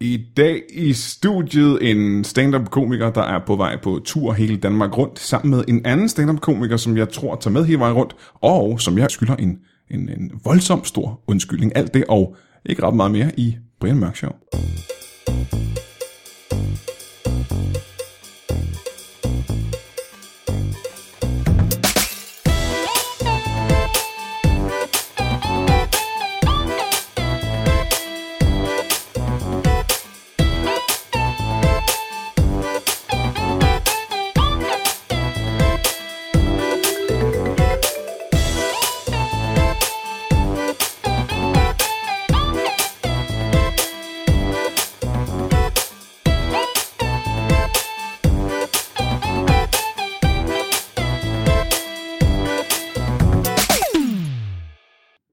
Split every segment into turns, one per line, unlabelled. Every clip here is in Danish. I dag i studiet en stand-up-komiker, der er på vej på tur hele Danmark rundt, sammen med en anden stand-up-komiker, som jeg tror tager med hele vejen rundt, og som jeg skylder en, en, en voldsom stor undskyldning. Alt det og ikke ret meget mere i Brian Mørk Show.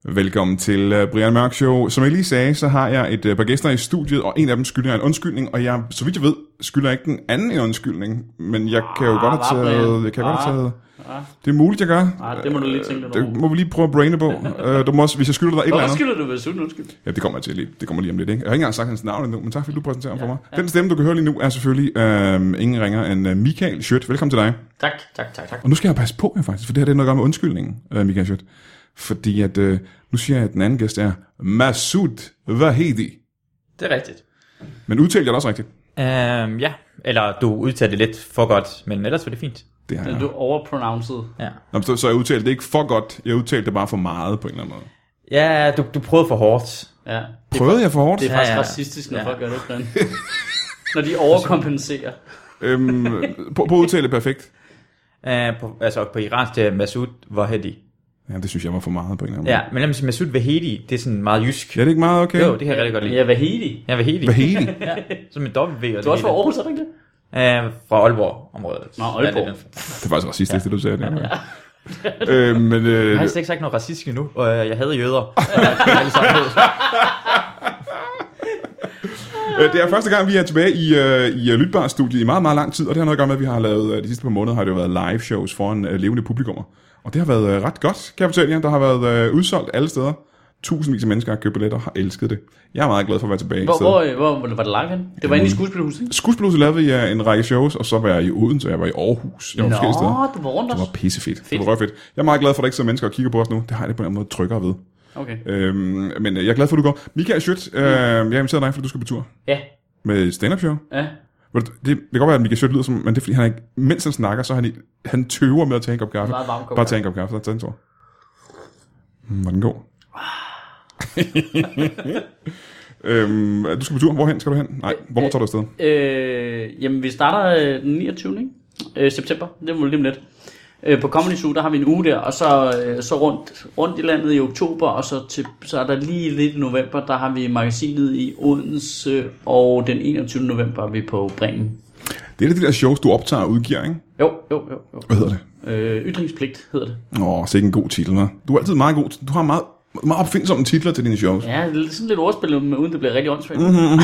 Velkommen til øh, Brian Mørk Show. Som jeg lige sagde, så har jeg et øh, par gæster i studiet, og en af dem skylder jeg en undskyldning, og jeg, så vidt jeg ved, skylder jeg ikke den anden en undskyldning, men jeg kan jo godt have
hvad,
taget...
Ah, Brian?
Jeg kan godt have
Ah.
taget det er muligt, jeg gør.
Ah, det må du lige tænke lidt
Det
over.
må vi lige prøve at braine på. Øh, du må også, hvis jeg skylder dig et eller
Hvorfor
andet.
skylder du ved Sune undskyld?
Ja, det kommer jeg til lige. Det kommer lige om lidt, ikke? Jeg har ikke engang sagt hans navn endnu, men tak fordi du præsenterer ham for mig. Den stemme, du kan høre lige nu, er selvfølgelig øh, ingen ringer end øh, Michael Schødt. Velkommen til dig.
Tak, tak, tak, tak.
Og nu skal jeg passe på her faktisk, for det her det er noget at gøre med undskyldningen, øh, Michael Schødt. Fordi at, øh, nu siger jeg, at den anden gæst er Masud Vahedi.
Det er rigtigt.
Men udtalte jeg det også rigtigt?
Um, ja, eller du udtalte det lidt for godt, men ellers var det fint.
Det har jeg.
Du overpronounced.
Ja,
Nå, men så, så jeg udtalte det ikke for godt, jeg udtalte det bare for meget på en eller anden måde.
ja du, du prøvede for hårdt.
Ja. Det,
Prøvede jeg for hårdt?
det er faktisk
Ja, ja.
racistisk, når
Ja.
folk gør det, Brian. Når de overkompenserer.
Øhm, på, på at udtale det perfekt.
Uh, på, altså på iransk til Masoud Vahedi.
Ja, det synes jeg var for meget på en eller anden måde.
Ja, men lad mig sige, Masoud Vahedi, det er sådan meget jysk.
Ja, det er ikke meget okay.
Jo, det kan jeg rigtig godt lide.
Ja, hvad hedder de?
Ja, Vahedi.
Vahedi.
Ja, som en dobbelt V. og
Du er
det
også fra
hele.
Aarhus, er du ikke det?
Øh, fra Aalborg-området.
Nå, Aalborg.
Ja, det, er-
Det var faktisk racistisk, ja. det du sagde. Ja. øh, men, øh,
jeg har slet ikke sagt noget racistisk endnu, og øh, jeg havde jøder. Jeg er alle sammen ved.
øh, det er første gang, vi er tilbage i, øh, i øh, Lytbar-studiet i meget, meget lang tid, og det har noget at gøre med, at vi har lavet, øh, de sidste par måneder har det jo været live shows foran øh, levende publikummer. Og det har været øh, ret godt, kan jeg fortælle jer. Der har været øh, udsolgt alle steder. Tusindvis af mennesker har købt billetter og har elsket det. Jeg er meget glad for at være tilbage.
Hvor,
Så-
hvor, øh, hvor, hvor var det live hen? Det var inde i skuespilhuset, ikke?
Skuespilhuset lavede vi øh, en række shows, og så var jeg i Odense, jeg var i Aarhus, jeg var forskellige steder.
du var rundt
Det
også.
var pissefedt. Fedt.
Fedt.
Det var røvfedt. Jeg er meget glad for, at der ikke sidder mennesker og kigger på os nu. Det har jeg det på en eller anden måde trykker ved.
Okay.
Øhm, men øh, jeg er glad for, at du går. Michael
Mm.
Schødt, øh, jeg inviterer dig, fordi du skal på tur
Ja,
med et stand-up show.
ja.
Ved du, Det, det kan godt være, at Michael Schødt lyder som, men det er fordi, han er ikke, mens han snakker, så er han, i- han tøver med at tage en kop kaffe.
Meget varm kop
Bare
kaffe.
tage en kop kaffe, så tag en tur. Hmm, var den god? øhm, du skal på tur. Hvorhen skal du hen? Nej, hvor tager du afsted?
Øh, jamen, vi starter øh, den 29. Ikke? Øh, september, det må lige om lidt. Øh, på Comedy Zoo, der har vi en uge der, og så, øh, så rundt, rundt i landet i oktober, og så, til, så er der lige lidt i november, der har vi magasinet i Odense, og den 21. november er vi på Bremen.
Det er det de der shows, du optager og udgiver, ikke?
Jo, jo, jo. jo.
Hvad hedder det?
Øh, ytringspligt hedder det.
Åh, så ikke en god titel, hva'? Du er altid meget god. Du har meget, meget opfindsomme titler til dine shows.
Ja, det er sådan lidt ordspil, men uden det bliver rigtig åndssvagt. Mm.
Jamen,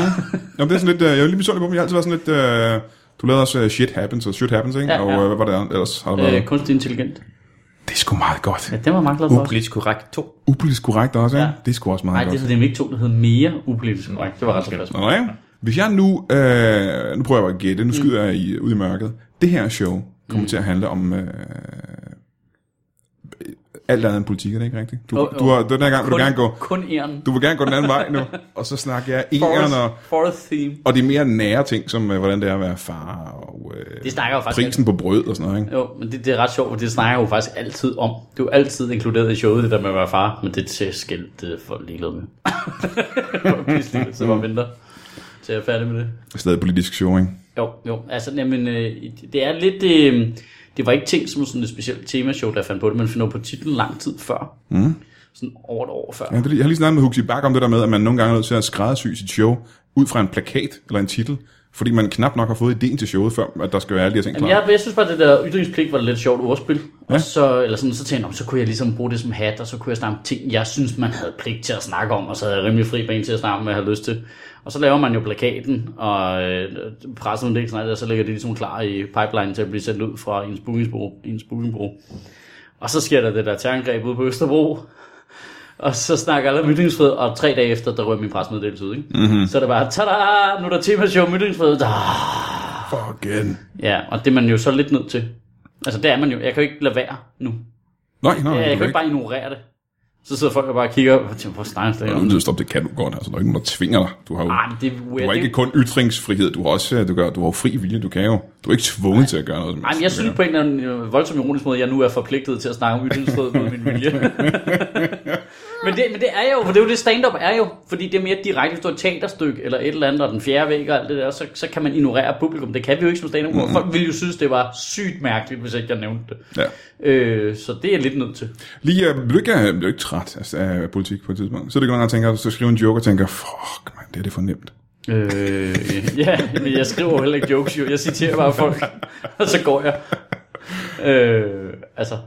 det er sådan lidt, øh, jeg er lige misundelig på dem. Jeg har altid været sådan lidt, øh, du lavede også øh, Shit Happens og Shit Happens, ikke?
Ja,
og
ja.
øh, hvad var det ellers? Har der været?
Øh, kunstig intelligent.
det er sgu meget godt.
Ja, den var jeg meget glad for.
Upolitisk korrekt 2.
Upolitisk korrekt også, ikke? Ja.
Ja.
Det er sgu også meget
Nej,
godt.
det er så nemlig ikke to, der hedder mere upolitisk korrekt. Det Mm. var ret tilfreds med.
Nå, ja. Hvis jeg nu, øh, nu prøver jeg at gætte, nu skyder jeg i, ud i mørket. Det her show kommer
Mm.
til at handle om øh, alt andet end politik, er det ikke rigtigt? Du,
Jo, jo.
du har, den her gang vil du gerne gå,
Oh, kun æren.
du vil gerne gå den anden vej nu, og så snakker jeg engerne og,
Forest, forest theme.
og de mere nære ting, som øh, hvordan det er at være far og øh,
Det snakker jo faktisk
prisen på brød og sådan noget, ikke?
Jo, men det, det er ret sjovt, for det snakker jeg jo faktisk altid om. Det er jo altid inkluderet i showet, det der med at være far, men det er til skæld, det er folk ligeglade med. Folk er pisseligeglade, så bare venter til jeg er færdig med det.
Stadig politisk show, ikke?
Jo, jo, altså, jamen, øh, det er lidt... Øh, det var ikke ting som sådan et specielt temashow, der fandt på det, men finder på titlen lang tid før. Mm. Sådan over et år før.
Ja, det er lige- Jeg har lige snakket med Huxi Bak om det der med, at man nogle gange er nødt til at skræddersy sit show ud fra en plakat eller en titel, fordi man knap nok har fået ideen til showet, før at der skal være alle de her ting klar.
Jamen, jeg, jeg synes bare, det der ytringspligt var et lidt sjovt ordspil. Ja. Og så, eller sådan, så tænkte jeg, "Nå, så kunne jeg ligesom bruge det som hat, og så kunne jeg snakke om ting, jeg synes, man havde pligt til at snakke om, og så havde jeg rimelig fri bane til at snakke om, hvad jeg havde lyst til. Og så laver man jo plakaten, og øh, pressen det ikke snart, og så ligger det ligesom klar i pipeline til at blive sendt ud fra ens bookingbureau. Ens bookingbureau. Og så sker der det der terrorangreb ude på Østerbro, Og så snakker alle om ytringsfrihed, og tre dage efter, der rører min presmeddelelse ud. Ikke? Mm-hmm. Så er det bare, tada, nu er der temashow om ytringsfrihed. Ah.
Fuck igen.
Ja, og det er man jo så lidt nødt til. Altså det er man jo. Jeg kan jo ikke lade være nu.
Nej, nej,
Ja, jeg
ja,
kan jo
kan
ikke bare ignorere det. Så sidder folk og bare kigger og tænker, hvor snakker det
Du er
om?
nødt til at stoppe, det kan du godt. Altså, der er ikke nogen, der tvinger dig. Du har jo
Ej, men det er
du har
weird.
ikke
Ikke...
kun ytringsfrihed, du har også øh, du gør, du har jo fri vilje, du kan jo. Du er ikke tvunget til at gøre noget. som
Ej,
helst,
men jeg
du
synes
kan.
på en eller anden øh, voldsom ironisk måde, at jeg nu er forpligtet til at snakke om ytringsfrihed mod min vilje. men, det, men det er jo, for det er jo det stand-up er jo, fordi det er mere direkte, hvis du har et teaterstykke eller et eller andet, og den fjerde væg og alt det der, så, så kan man ignorere publikum. Det kan vi jo ikke som stand-up. Mm. Folk ville jo synes, det var sygt mærkeligt, hvis ikke jeg nævnte det.
Mm-hmm. Ja.
Øh, så det er jeg lidt nødt til.
Lige, øh, bliver du ikke, øh, bliver du ikke træt altså, af politik på et tidspunkt? Så er det ikke nogen, der tænker, så skriver en joke og tænker, fuck, man, det er det for nemt.
Øh, ja, men jeg skriver jo heller ikke jokes, jo. Jeg citerer bare folk, og så går jeg. Øh, altså,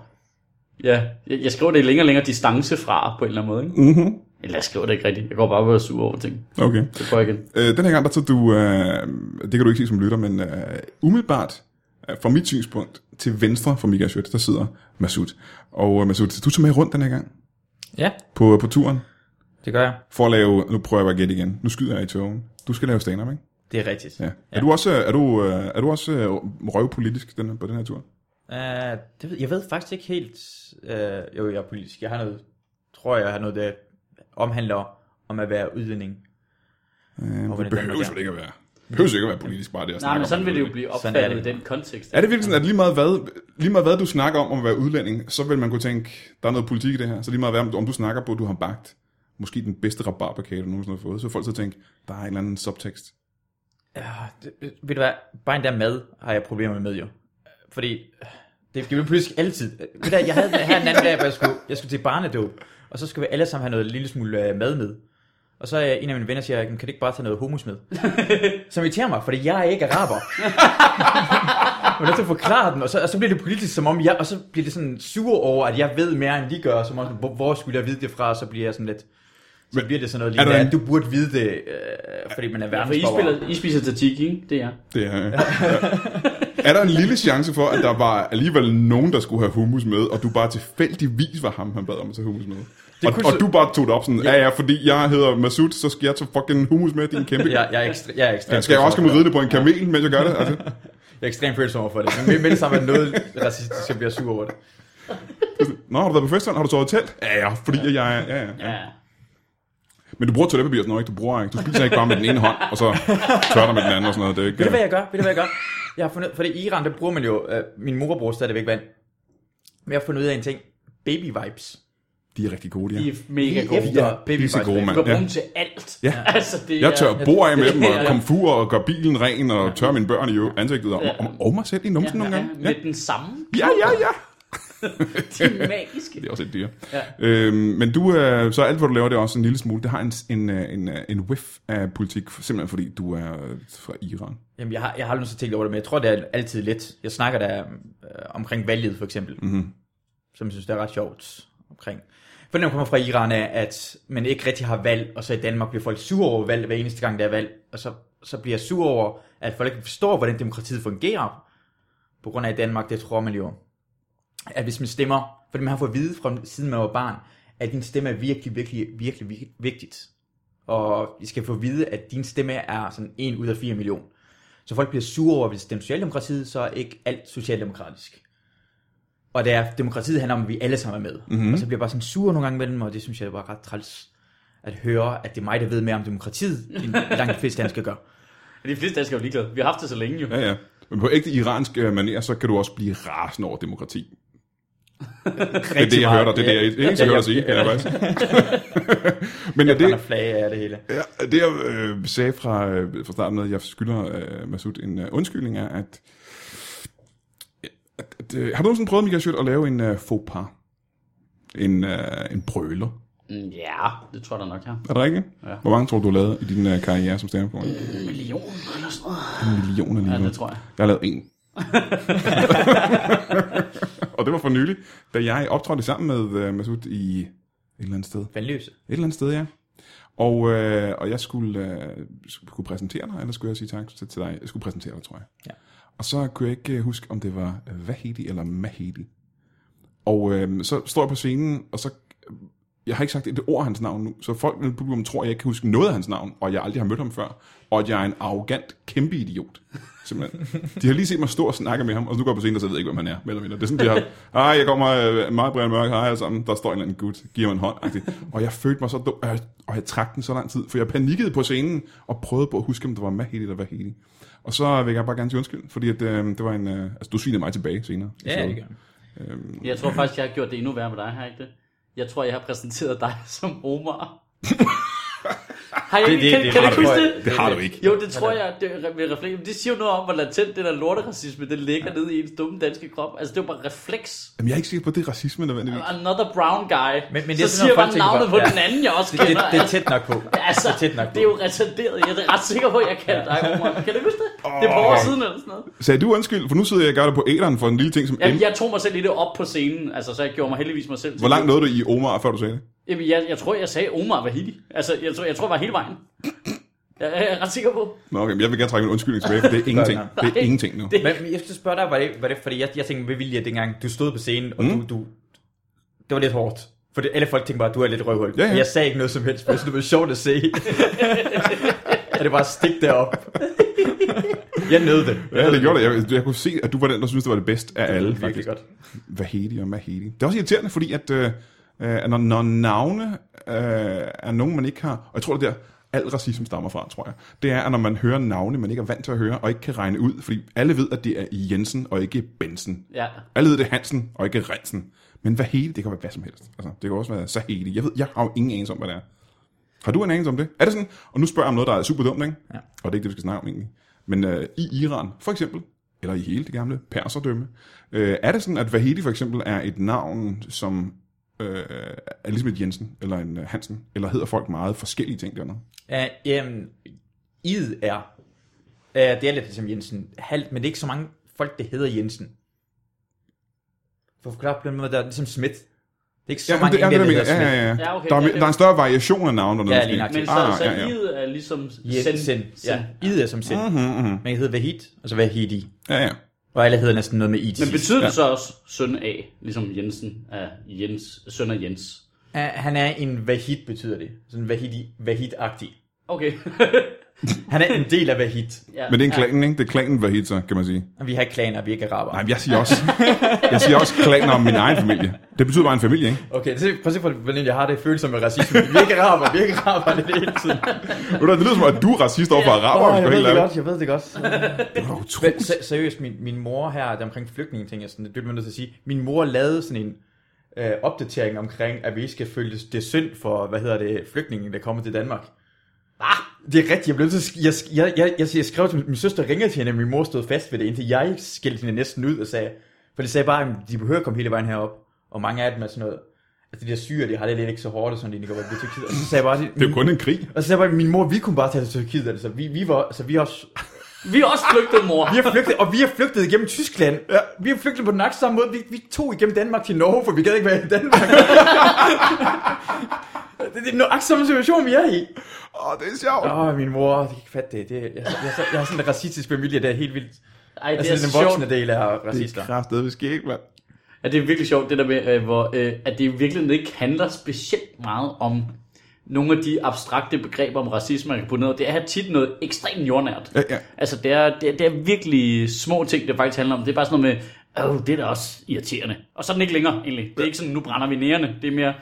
ja, jeg, jeg skriver det i længere og længere distance fra, på en eller anden måde, ikke?
Mhm.
Eller jeg skriver det ikke rigtigt. Jeg går bare og er sur over ting.
Okay.
Så prøver jeg igen.
Øh, den her gang, der tog du, øh, det kan du ikke se som lytter, men øh, umiddelbart øh, fra mit synspunkt til venstre for Mika Schødt, der sidder Masud. Og øh, Masud, du tog med rundt den her gang
Ja,
på, på turen
det gør jeg.
for at lave, nu prøver jeg bare at gætte igen, nu skyder jeg i togen. Du skal lave stand ikke?
Det er rigtigt.
Ja. Er du også, øh, er du, øh, er du også øh, røvpolitisk den, her- på den her tur? Øh,
Uh, det ved, jeg ved faktisk ikke helt... Uh, jo, jeg er politisk. Jeg har noget... Tror jeg, jeg har noget, der omhandler om at være udlænding.
Øh,
hvordan
det
Danmark
behøver
er.
jo ikke at være. Det behøver jo ikke at være politisk, bare det at
Nej,
snakke
men
om det.
sådan vil det jo blive
Sådan
opfattet
er
i
det.
den kontekst.
Er det virkelig sådan, at lige meget, hvad, lige meget hvad du snakker om om at være udlænding, så vil man kunne tænke, der er noget politik i det her. Så lige meget hvad, om- om du snakker på, at du har bagt måske den bedste rabarberkage, du nogensinde har fået, så vil folk så tænke, der er en eller anden subtekst.
Ja, det, øh, ved du hvad? Bare en der mad har jeg problemer med jo. Fordi øh, det bliver pludselig altid. Øh, Ved du hvad, jeg havde det her en anden dag, hvor jeg skulle, jeg skulle til barnedåb, og så skulle vi alle sammen have noget lille smule øh, mad med. Og så er en af mine venner siger, kan du ikke bare tage noget hummus med? Som irriterer mig, fordi jeg er ikke araber. Men jeg skal forklare den, og så, og så bliver det politisk, som om jeg, og så bliver det sådan sur over, at jeg ved mere, end de gør, som om, hvor, hvor skulle jeg vide det fra, og så bliver jeg sådan lidt, så
Men
bliver det sådan noget
er
lige,
der
der,
en-
at du burde vide det, øh, fordi man er
Ja, for I,
verdensborger.
spiller, I spiser tatik, ikke? Det er jeg.
Det er, øh, er der en lille chance for, at der var alligevel nogen, der skulle have hummus med, og du bare tilfældigvis var ham, han bad om at tage hummus med? Og,
kunne
og
så-
du bare tog det op sådan, ja ja, fordi jeg hedder Masud, så skal jeg tage fucking hummus med, din kæmpe...
jeg, jeg, er ekstre, jeg er ekstremt
Skal jeg også komme og ride det på en kamel, mens jeg gør det? Altså,
Jeg er ekstremt følsom over for det. Men med det samme er noget racistisk, jeg bliver sur over det.
Nå, har du været på festival? Har du sovet i telt? Ja, ja, fordi jeg, jeg, ja, ja.
Ja.
Men du bruger toiletpapir og sådan noget, ikke? Du bruger ikke. Du spiser ikke bare med den ene hånd, og så tørrer dig med den anden og sådan noget. Det er ikke,
Ved du, hvad jeg gør? Ved du, hvad jeg gør? Jeg har fundet, for det i Iran, der bruger man jo, øh, min mor bruger stadigvæk vand. Men jeg har fundet ud af en ting. Baby vibes.
de er rigtig gode, de
I
her.
er mega gode.
efter-
Ja, baby
pisse
vibes.
gode,
Du
mand.
kan bruge
Ja.
dem til alt.
Ja.
Altså, det
Jeg tør bord af med dem,
Ja,
og
ja.
komfur, og gør bilen ren, og tør mine børn i ø- ansigtet, og, og, og mig selv i numsen nogle
ja,
gange. Ja,
med den samme.
ja, ja. ja.
De er magiske.
Det er også et dyr.
Ja.
Øhm, men du, øh, så alt, hvad du laver, det er også en lille smule. Det har en, en, øh, en, øh, en whiff af politik, simpelthen fordi du er øh, fra Iran.
Jamen, jeg har, jeg har aldrig så tænkt over det, men jeg tror, det er altid lidt. Jeg snakker der øh, omkring valget, for eksempel.
Mhm.
Som jeg synes, det er ret sjovt omkring. For når man kommer fra Iran, er, at man ikke rigtig har valg, og så i Danmark bliver folk sure over valg hver eneste gang, der er valg. Og så, så bliver jeg sur over, at folk ikke forstår, hvordan demokratiet fungerer. På grund af i Danmark, det tror man jo, at hvis man stemmer, fordi man har fået at vide fra siden man var barn, at din stemme er virkelig, virkelig, virkelig, virkelig vigtigt. Og I skal få at vide, at din stemme er sådan en ud af 4 millioner. Så folk bliver sure over, hvis det er socialdemokratiet, så er ikke alt socialdemokratisk. Og det er, demokratiet handler om, at vi alle sammen er med.
Mhm.
Mm-hmm. Og så bliver jeg bare sådan sur nogle gange med dem, og det synes jeg var ret træls at høre, at det er mig, der ved mere om demokratiet, end langt de fleste danskere gør.
De fleste danskere er jo ligeglade. Vi har haft det så længe jo.
Ja, ja. Men på ægte iransk øh, manér, så kan du også blive rasende over demokrati. Det er det, jeg hører dig. Det er det, jeg eneste, jeg hører dig sige. Ja, faktisk. Men er
Det er
det,
flage af det hele.
ja, det, jeg øh, sagde fra, øh, fra starten, af, at jeg skylder øh, Masud en øh, undskyldning, er, at... at, at øh, har du nogensinde prøvet, Michael Schødt, at lave en øh, faux pas? En, øh, en brøler?
Mm, Ja, det tror jeg da nok, ja.
Er det rigtigt?
Ja.
Hvor mange tror du, du har lavet i din øh, karriere som stand En
En million eller sådan noget.
million
Ja,
alligevel.
det tror jeg.
Jeg har lavet en. og det var for nylig, da jeg optrådte sammen med øh, Masud i et eller andet sted.
Vandløse.
Et eller andet sted, ja. Og, øh, og jeg skulle, øh, skulle præsentere dig, eller skulle jeg sige tak til, til dig? Jeg skulle præsentere dig, tror jeg.
Ja.
Og så kunne jeg ikke øh, huske, om det var øhm, Vahedi eller Mahedi. Og øh, så står jeg på scenen, og så jeg har ikke sagt et ord af hans navn nu, så folk i publikum tror, at jeg ikke kan huske noget af hans navn, og jeg aldrig har mødt ham før, og at jeg er en arrogant, kæmpe idiot. Simpelthen. De har lige set mig stå og snakke med ham, og så nu går jeg på scenen, og så ved jeg ikke, hvem han er. Mere eller mindre. Det er sådan, de har, hej, jeg kommer øh, mig, Brian Mørk, hej alle sammen, der står en eller anden gut, giver mig en hånd. -agtigt. Og jeg følte mig så dum, øh, og jeg trak den så lang tid, for jeg panikkede på scenen, og prøvede på at huske, om der var Mahedi eller Vahedi. Og så vil jeg bare gerne sige undskyld, fordi at, øh, det var en, øh, altså, du svinede mig tilbage senere.
Ja, det gør
Jeg tror faktisk, jeg har gjort det endnu værre med dig, har jeg ikke det? Jeg tror, jeg har præsenteret dig som Omar. har jeg ikke,
det-
kan,
det
kan du
har
ikke
du-
huske det?
Det har du ikke.
Jo, det tror jeg, det er ved refleks. Men Det siger jo noget om, hvor latent den der lorteracisme, den ligger ja. nede i ens dumme danske krop. Altså, det er jo bare refleks.
Jamen, jeg er ikke sikker på, at det er racisme nødvendigvis.
Another brown guy.
Men- men det er
så
sådan
siger jeg
noget,
bare
folk tænker
navnet på
bare,
den
ja.
anden, jeg også
Det,
kender.
det, det er tæt nok på.
Altså,
det er tæt nok på.
det er jo retarderet. Jeg er ret sikker på, at jeg kaldte dig Omar. Kan du huske det? Det er på år siden eller sådan noget.
Sagde du undskyld, for nu sidder jeg og gør det på æderen for en lille ting, som...
Jamen,
Jamen,
jeg tog mig selv lidt op på scenen, altså, så jeg gjorde mig heldigvis mig selv. til-
Hvor langt nåede du i Omar, før du sagde det?
Jamen, jeg, jeg tror, jeg sagde Omar Vahidi. Altså, jeg tror, jeg tror, jeg var hele vejen. Jeg er ret sikker på.
Nå, okay, men jeg vil gerne trække min undskyldning tilbage, for det er ingenting. Det er
Nej.
ingenting nu.
Det-
Men, men jeg skulle spørge dig, var det, var det fordi jeg, jeg tænkte med vilje, at dengang du stod på scenen, og mm. du, du, det var lidt hårdt. For det, alle folk tænkte bare, at du er lidt røvhul.
Ja, ja.
Men Jeg sagde ikke noget som helst, men jeg synes, det var sjovt at se. og det var stik derop. jeg nød det. Jeg
Ja,
nød
det gjorde det. Jeg, jeg kunne se, at du var den, der synes det var det bedste af alle,
Det var virkelig
faktisk.
godt.
Vahedi og Mahedi. Det er også irriterende, fordi at, øh, øh, når, når navne øh, er nogen, man ikke har... Og jeg tror, det er der, al racisme stammer fra, tror jeg. Det er, at når man hører navne, man ikke er vant til at høre, og ikke kan regne ud, fordi alle ved, at det er Jensen og ikke Bensen.
Ja.
Alle ved, det er Hansen og ikke Rensen. Men hvad hele, det kan være hvad som helst. Altså, det kan også være Sahedi. Jeg ved, jeg har jo ingen anelse om, hvad det er. Har du en anelse om det? Er det sådan? Og nu spørger jeg om noget, der er super dumt, ikke? Ja. Og det er ikke det, vi skal snakke om egentlig. Men øh, i Iran, for eksempel, eller i hele det gamle perserdømme, øh, er det sådan, at Vahedi for eksempel er et navn, som øh, er ligesom et Jensen, eller en øh, Hansen, eller hedder folk meget forskellige ting dernede?
Uh, jamen, id er, uh, det er lidt ligesom Jensen, halvt, men det er ikke så mange folk, der hedder Jensen. For at forklare på den måde, der er ligesom Smith. Det er ikke så
Ja, men
mange
det er det,
englænder,
der
der
mener.
hedder
Ja,
Smith.
ja, ja.
Ja, okay,
der, er,
ja, det-
der er en større variation af navne dernede.
Ja, lige
måske. Ah,
Men
nøjagtigt.
så, så livet er ligesom
Jensen.
send.
Ja, id er som sind.
Mhm, mhm.
Man kan hedde Vahid, og så Vahidi.
Ja, ja.
Og alle hedder næsten noget med I til
Men
sidst.
betyder det så også søn af, ligesom Jensen er Jens, søn af Jens?
Ja, han er en Vahid, betyder det. Sådan Vahidi, Vahid-agtig.
Okay.
Han er en del af Vahid.
ja,
Men det er en
ja.
klanen, ikke? Det er klanen Vahid, så, kan man sige.
Og vi har ikke klaner, vi er ikke araber.
Nej, men jeg siger også, jeg siger også klaner om min egen familie. Det betyder bare en familie, ikke?
Okay, så prøv at se, hvordan jeg har det følelse med racisme. Vi er ikke araber, vi er ikke araber, det er det hele tiden.
Ved du hvad, Det lyder som, at du er racist over for araber,
Åh,
hvis du er helt ærlig.
jeg ved det godt.
Det var da
Men
utroligt.
se- seriøst, min, min mor her, der omkring flygtninge, tænker jeg sådan, det bliver man nødt til at sige. Min mor lavede sådan en øh, opdatering omkring, at vi ikke skal følge det synd for, hvad hedder det, flygtninge, der kommer til Danmark. Ah, det er rigtigt, jeg blev nødt til at sk- jeg, sk- jeg, jeg, jeg, jeg skrev til min, min søster, ringede til hende, at min mor stod fast ved det, indtil jeg skældte hende næsten ud og sagde, for de sagde bare, at de behøver at komme hele vejen herop, og mange af dem er sådan noget, altså de der syre, de har det lidt ikke så hårdt, og sådan, de går til Tyrkiet, og så sagde jeg bare,
Det er jo kun en krig.
og så sagde jeg bare, min mor, vi kunne bare tage til Tyrkiet, altså vi, vi var, altså vi er også,
Vi er også flygtet, mor.
Altså,
vi har flygtet, og vi har flygtet igennem Tyskland. Ja. Vi har flygtet på den nok samme måde. Vi, vi tog igennem Danmark til Norge, for vi gad ikke være i Danmark. det, det er nok samme situation, vi er i.
Åh, det er sjovt.
Åh, oh, min mor, det kan ikke fatte det. det jeg, jeg, jeg, jeg, har sådan en racistisk familie, det er helt vildt.
Ej, det
Altså,
er
den
så sjovt.
voksne del er
Det
racister.
er kraftedet, vi skal ikke, mand.
Ja, det er virkelig sjovt, det der med, øh, hvor, øh, at det i virkeligheden ikke handler specielt meget om nogle af de abstrakte begreber om racisme, man kan putte ned. Det er tit noget ekstremt jordnært.
Ja, ja.
Altså, det er, det, er, det er virkelig små ting, det faktisk handler om. Det er bare sådan noget med, åh, det er da også irriterende. Og så er den ikke længere, egentlig. Det er ikke sådan, nu brænder vi nærende. Det er mere,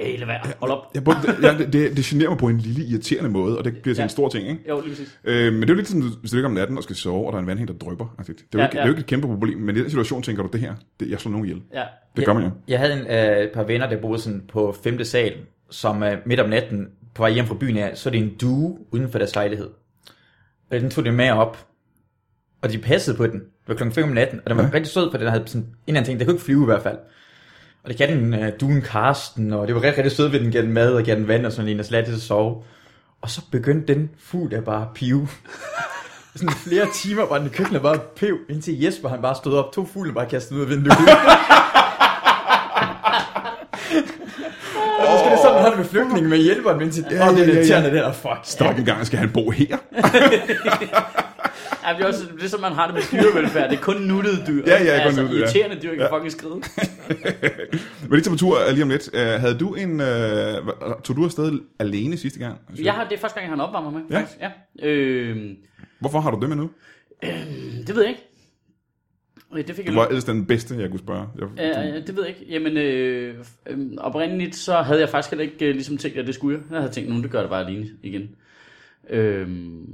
øh, lad være, hold op.
Jeg brugte, jeg, det, det, det generer mig på en lille irriterende måde, og det bliver til en
Ja.
stor ting, ikke?
Jo, lige præcis.
Øh, men det er jo lidt sådan, hvis du ligger om natten og skal sove, og der er en vandhæng, der drypper. Altså, Det er jo
Ja,
ikke, det er
ja.
jo ikke et kæmpe problem, men i den situation tænker du, det her, det, jeg slår nogen ihjel.
Ja.
Det gør man jo.
Jeg havde en, øh, et par venner, der boede sådan på 5. sal, som øh, midt om natten på vej hjem fra byen af, så er det en due uden for deres lejlighed. Og den ligesom tog de med op, og de passede på den. Det var klokken 5 om natten, og den var
Ja.
ja. rigtig sød, for den havde sådan en eller anden ting, der kunne ikke flyve i hvert fald. Og det gav den øh, duen Karsten, og det var rigtig, rigtig sødt ved, at den gav den mad og gav den vand og sådan en, og så lagde de sig at sove. Og så begyndte den fugl at bare pive. sådan flere timer var den i køkkenet og bare pev, indtil Jesper han bare stod op, to fugle bare kastede den ud af vinduet. Og så skal det sådan have det med flygtninge med hjælperen, men til, ja,
ja,
det
ja,
er
ja.
irriterende, det der, fuck.
Stop en gang, skal han bo her?
Ej, det, er også, det er som man har det med dyrevelfærd. Det er kun nuttede dyr.
Ja, ja, kun
altså,
nuttede, ja.
irriterende dyr kan
Ja.
fucking skride.
Men lige temperatur er lige om lidt. Øh, havde du en... Øh, hva- tog du afsted alene sidste gang?
Jeg har, det er første gang, jeg har en opvarmer med.
Ja.
faktisk. ja. Øh,
Hvorfor har du det med nu?
det ved jeg ikke. Øh, Det fik jeg
Du
lov-
var ellers den bedste, jeg kunne spørge. Jeg,
Ja, ja, det ved jeg ikke. Jamen, øh, øh, oprindeligt så havde jeg faktisk heller ikke øh, ligesom tænkt, at det skulle jeg. Jeg havde tænkt, nu det gør det bare alene igen. Øh,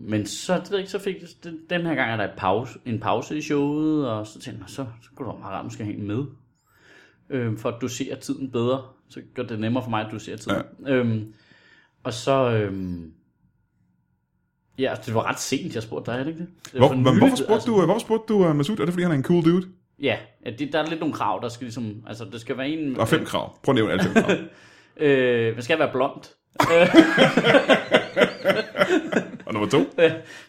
men så, det ved jeg ikke, så fik jeg, den, den her gang er der et pause, en pause i showet, og så tænkte jeg, så, så kunne det være meget rart, at måske have en med. Øh, for at dosere tiden bedre. Så gør det nemmere for mig at dosere tiden. Ja. Øh, og så... Øh, Ja, altså, det var ret sent, jeg spurgte dig, er det ikke det? det var
hvor,
for
men
nyligt,
hvorfor spurgte
altså.
du, hvorfor spurgte du uh, Masud? Er det, fordi han er en cool dude?
Ja, at det, der er lidt nogle krav, der skal ligesom... Altså, det skal være en...
Der er fem krav. Prøv at nævne alle fem krav.
Øh, man skal være blond.
Og nummer to.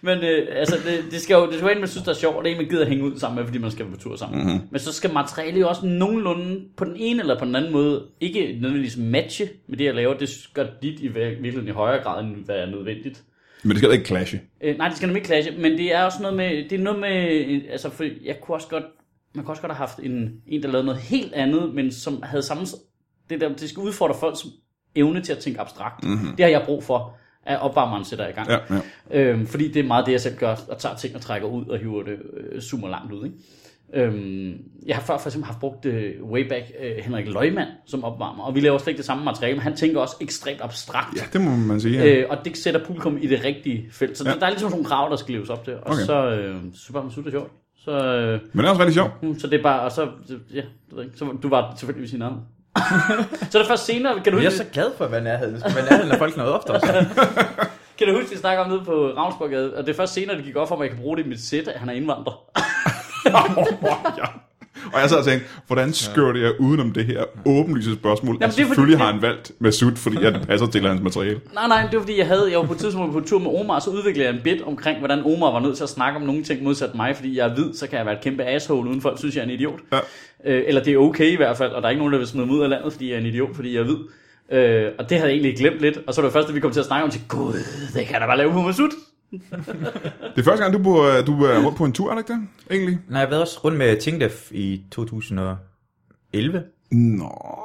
Men øh, altså, det, det, skal jo, det skal være en, man synes, der er sjovt, og en, man gider at hænge ud sammen med, fordi man skal på tur sammen. Mm-hmm. Men så skal materialet jo også nogenlunde, på den ene eller på den anden måde, ikke nødvendigvis matche med det, jeg laver. Det gør dit i vir- virkeligheden i højere grad, end hvad er nødvendigt.
Men det skal heller ikke clashe.
Øh, nej, det skal nemlig ikke clashe, men det er også noget med, det er noget med, øh, altså for jeg kunne også godt, man kunne også godt have haft en, en der lavede noget helt andet, men som havde samme, det der, det skal udfordre folks evne til at tænke abstrakt. Mm-hmm. Det har jeg brug for, at opvarmeren sætter i gang.
Ja, ja.
Øhm, fordi det er meget det, jeg selv gør, og tager ting og trækker ud og hiver det øh, super langt ud. Ikke? Øhm, jeg har før for eksempel haft brugt øh, Wayback øh, Henrik Løgmann som opvarmer, og vi laver slet ikke det samme materiale, men han tænker også ekstremt abstrakt.
ja, det må man sige. Ja.
Øh, og det sætter publikum i det rigtige felt. Så ja. der, der er ligesom sådan nogle krav, der skal leves op til. Og
Okay.
okay. så, øh, så var man super sjovt. Så, øh,
Men det er også rigtig sjovt.
mm, så det er bare, og så, ja, det ved jeg ikke. Så du var selvfølgelig sin navn. så er det først senere, kan du,
Jeg
huske,
er så glad for at være nærheden. Jeg skal være nærheden, når folk noget ofte også.
kan du huske, vi snakker om nede på Ravnsborgade, og det er først senere, det gik op for mig, at jeg kan bruge det i mit sæt, at han er indvandrer.
ja. Og jeg sad og tænkte, hvordan skørte jeg udenom det her åbenlyse spørgsmål? Jamen,
det er
altså,
fordi-
selvfølgelig har han valgt Masud, fordi at det passer til hans materiale.
Nej, nej, det var fordi, jeg havde, jeg var på et tidspunkt på tur med Omar, og så udviklede jeg en bit omkring, hvordan Omar var nødt til at snakke om nogle ting modsat mig, fordi jeg er hvid, så kan jeg være et kæmpe asshole, uden folk synes, jeg er en idiot.
Ja.
Øh, eller det er okay i hvert fald, og der er ikke nogen, der vil smide mig ud af landet, fordi jeg er en idiot, fordi jeg er hvid. Øh, og det havde jeg egentlig glemt lidt, og så var det første, vi kom til at snakke om, til gud, det kan jeg da bare lave på Masud.
Det er første gang, du, bor, øh, du er rundt på en tur, er det ikke det? Egentlig?
Nej, jeg har været også rundt med Tingdef i 2011.
Nå,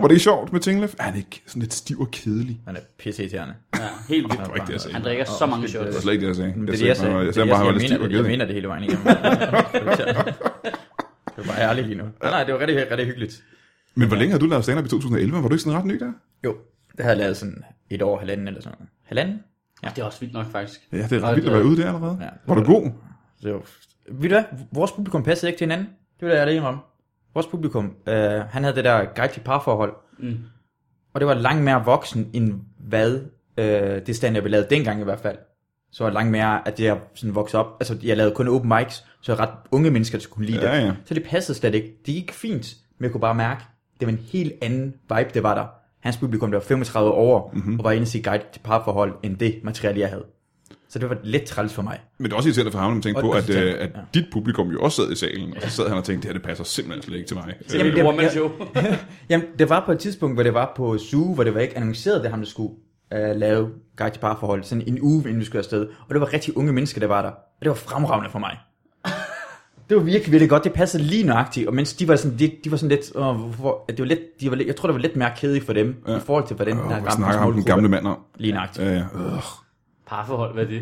var det sjovt med Tinglef? Er han ikke sådan lidt stiv og kedelig?
Han er pisse irriterende.
Ja, helt vildt.
Det var ikke det, jeg sagde.
Han drikker så mange shots.
Det var slet ikke det, jeg sagde.
Men
jeg
det, er det, jeg sagde,
bare, jeg
det, er
sagde
det,
bare, at han var
jeg,
lidt
jeg,
stiv og
mener, jeg
kedelig.
mener det hele vejen igennem. Det er bare ærligt lige nu. Nej, nej, det var rigtig, rigtig hyggeligt.
Men hvor længe har du lavet stand-up i 2011? Var du ikke sådan ret ny der?
Jo, det havde jeg lavet sådan et år, halvanden eller sådan noget. Halvanden?
Det er også vildt nok, faktisk.
Ja, det er ret vildt at være ude der allerede.
Ja.
Var du god?
Så, det var- ved du hvad? Vores publikum passede ikke til hinanden. Det var jeg alene om. Vores publikum, øh, han havde det der guide til parforhold.
Mm.
Og det var langt mere voksen, end hvad øh, det stand, jeg lavede dengang i hvert fald. Så var det langt mere, at jeg sådan voksede op. Altså, jeg lavede kun open mics, så ret unge mennesker skulle kunne lide det.
Ja, ja.
Så det passede slet ikke. Det gik fint, men jeg kunne bare mærke, det var en helt anden vibe, det var der. Hans publikum, der var 35 år,
Mhm.
mm-hmm. og var inde i sit guide til parforhold, end det materiale, jeg havde. Så det var lidt træls for mig.
Men det er også irriterende for ham, når man tænker
Og-
på,
og
at,
så
øh,
tænker-
at
ja.
dit publikum jo også sad i salen, og så sad han og tænkte, det her, det passer simpelthen slet ikke til mig.
Det er
Øh,
et
det-
one-man
jeg-
show.
Jamen, det var på et tidspunkt, hvor det var på Zoo, hvor det var ikke annonceret, det ham, der skulle øh, lave guide til parforhold. Sådan en uge, inden vi skulle afsted. Og det var rigtig unge mennesker, der var der. Og det var fremragende for mig. Det var virkelig, virkelig godt. Det passede lige nøjagtigt. Og mens de var sådan, de, de var sådan lidt... Åh, hvorfor, at det var lidt de var, lidt- jeg tror, det var lidt mere kedeligt for dem, ja. i forhold til, hvordan
Åh,
den her
Øh, Hvad snakker ham den gamle mand om?
Lige nøjagtigt.
Ja, ja. Øh.
Parforhold, hvad er det?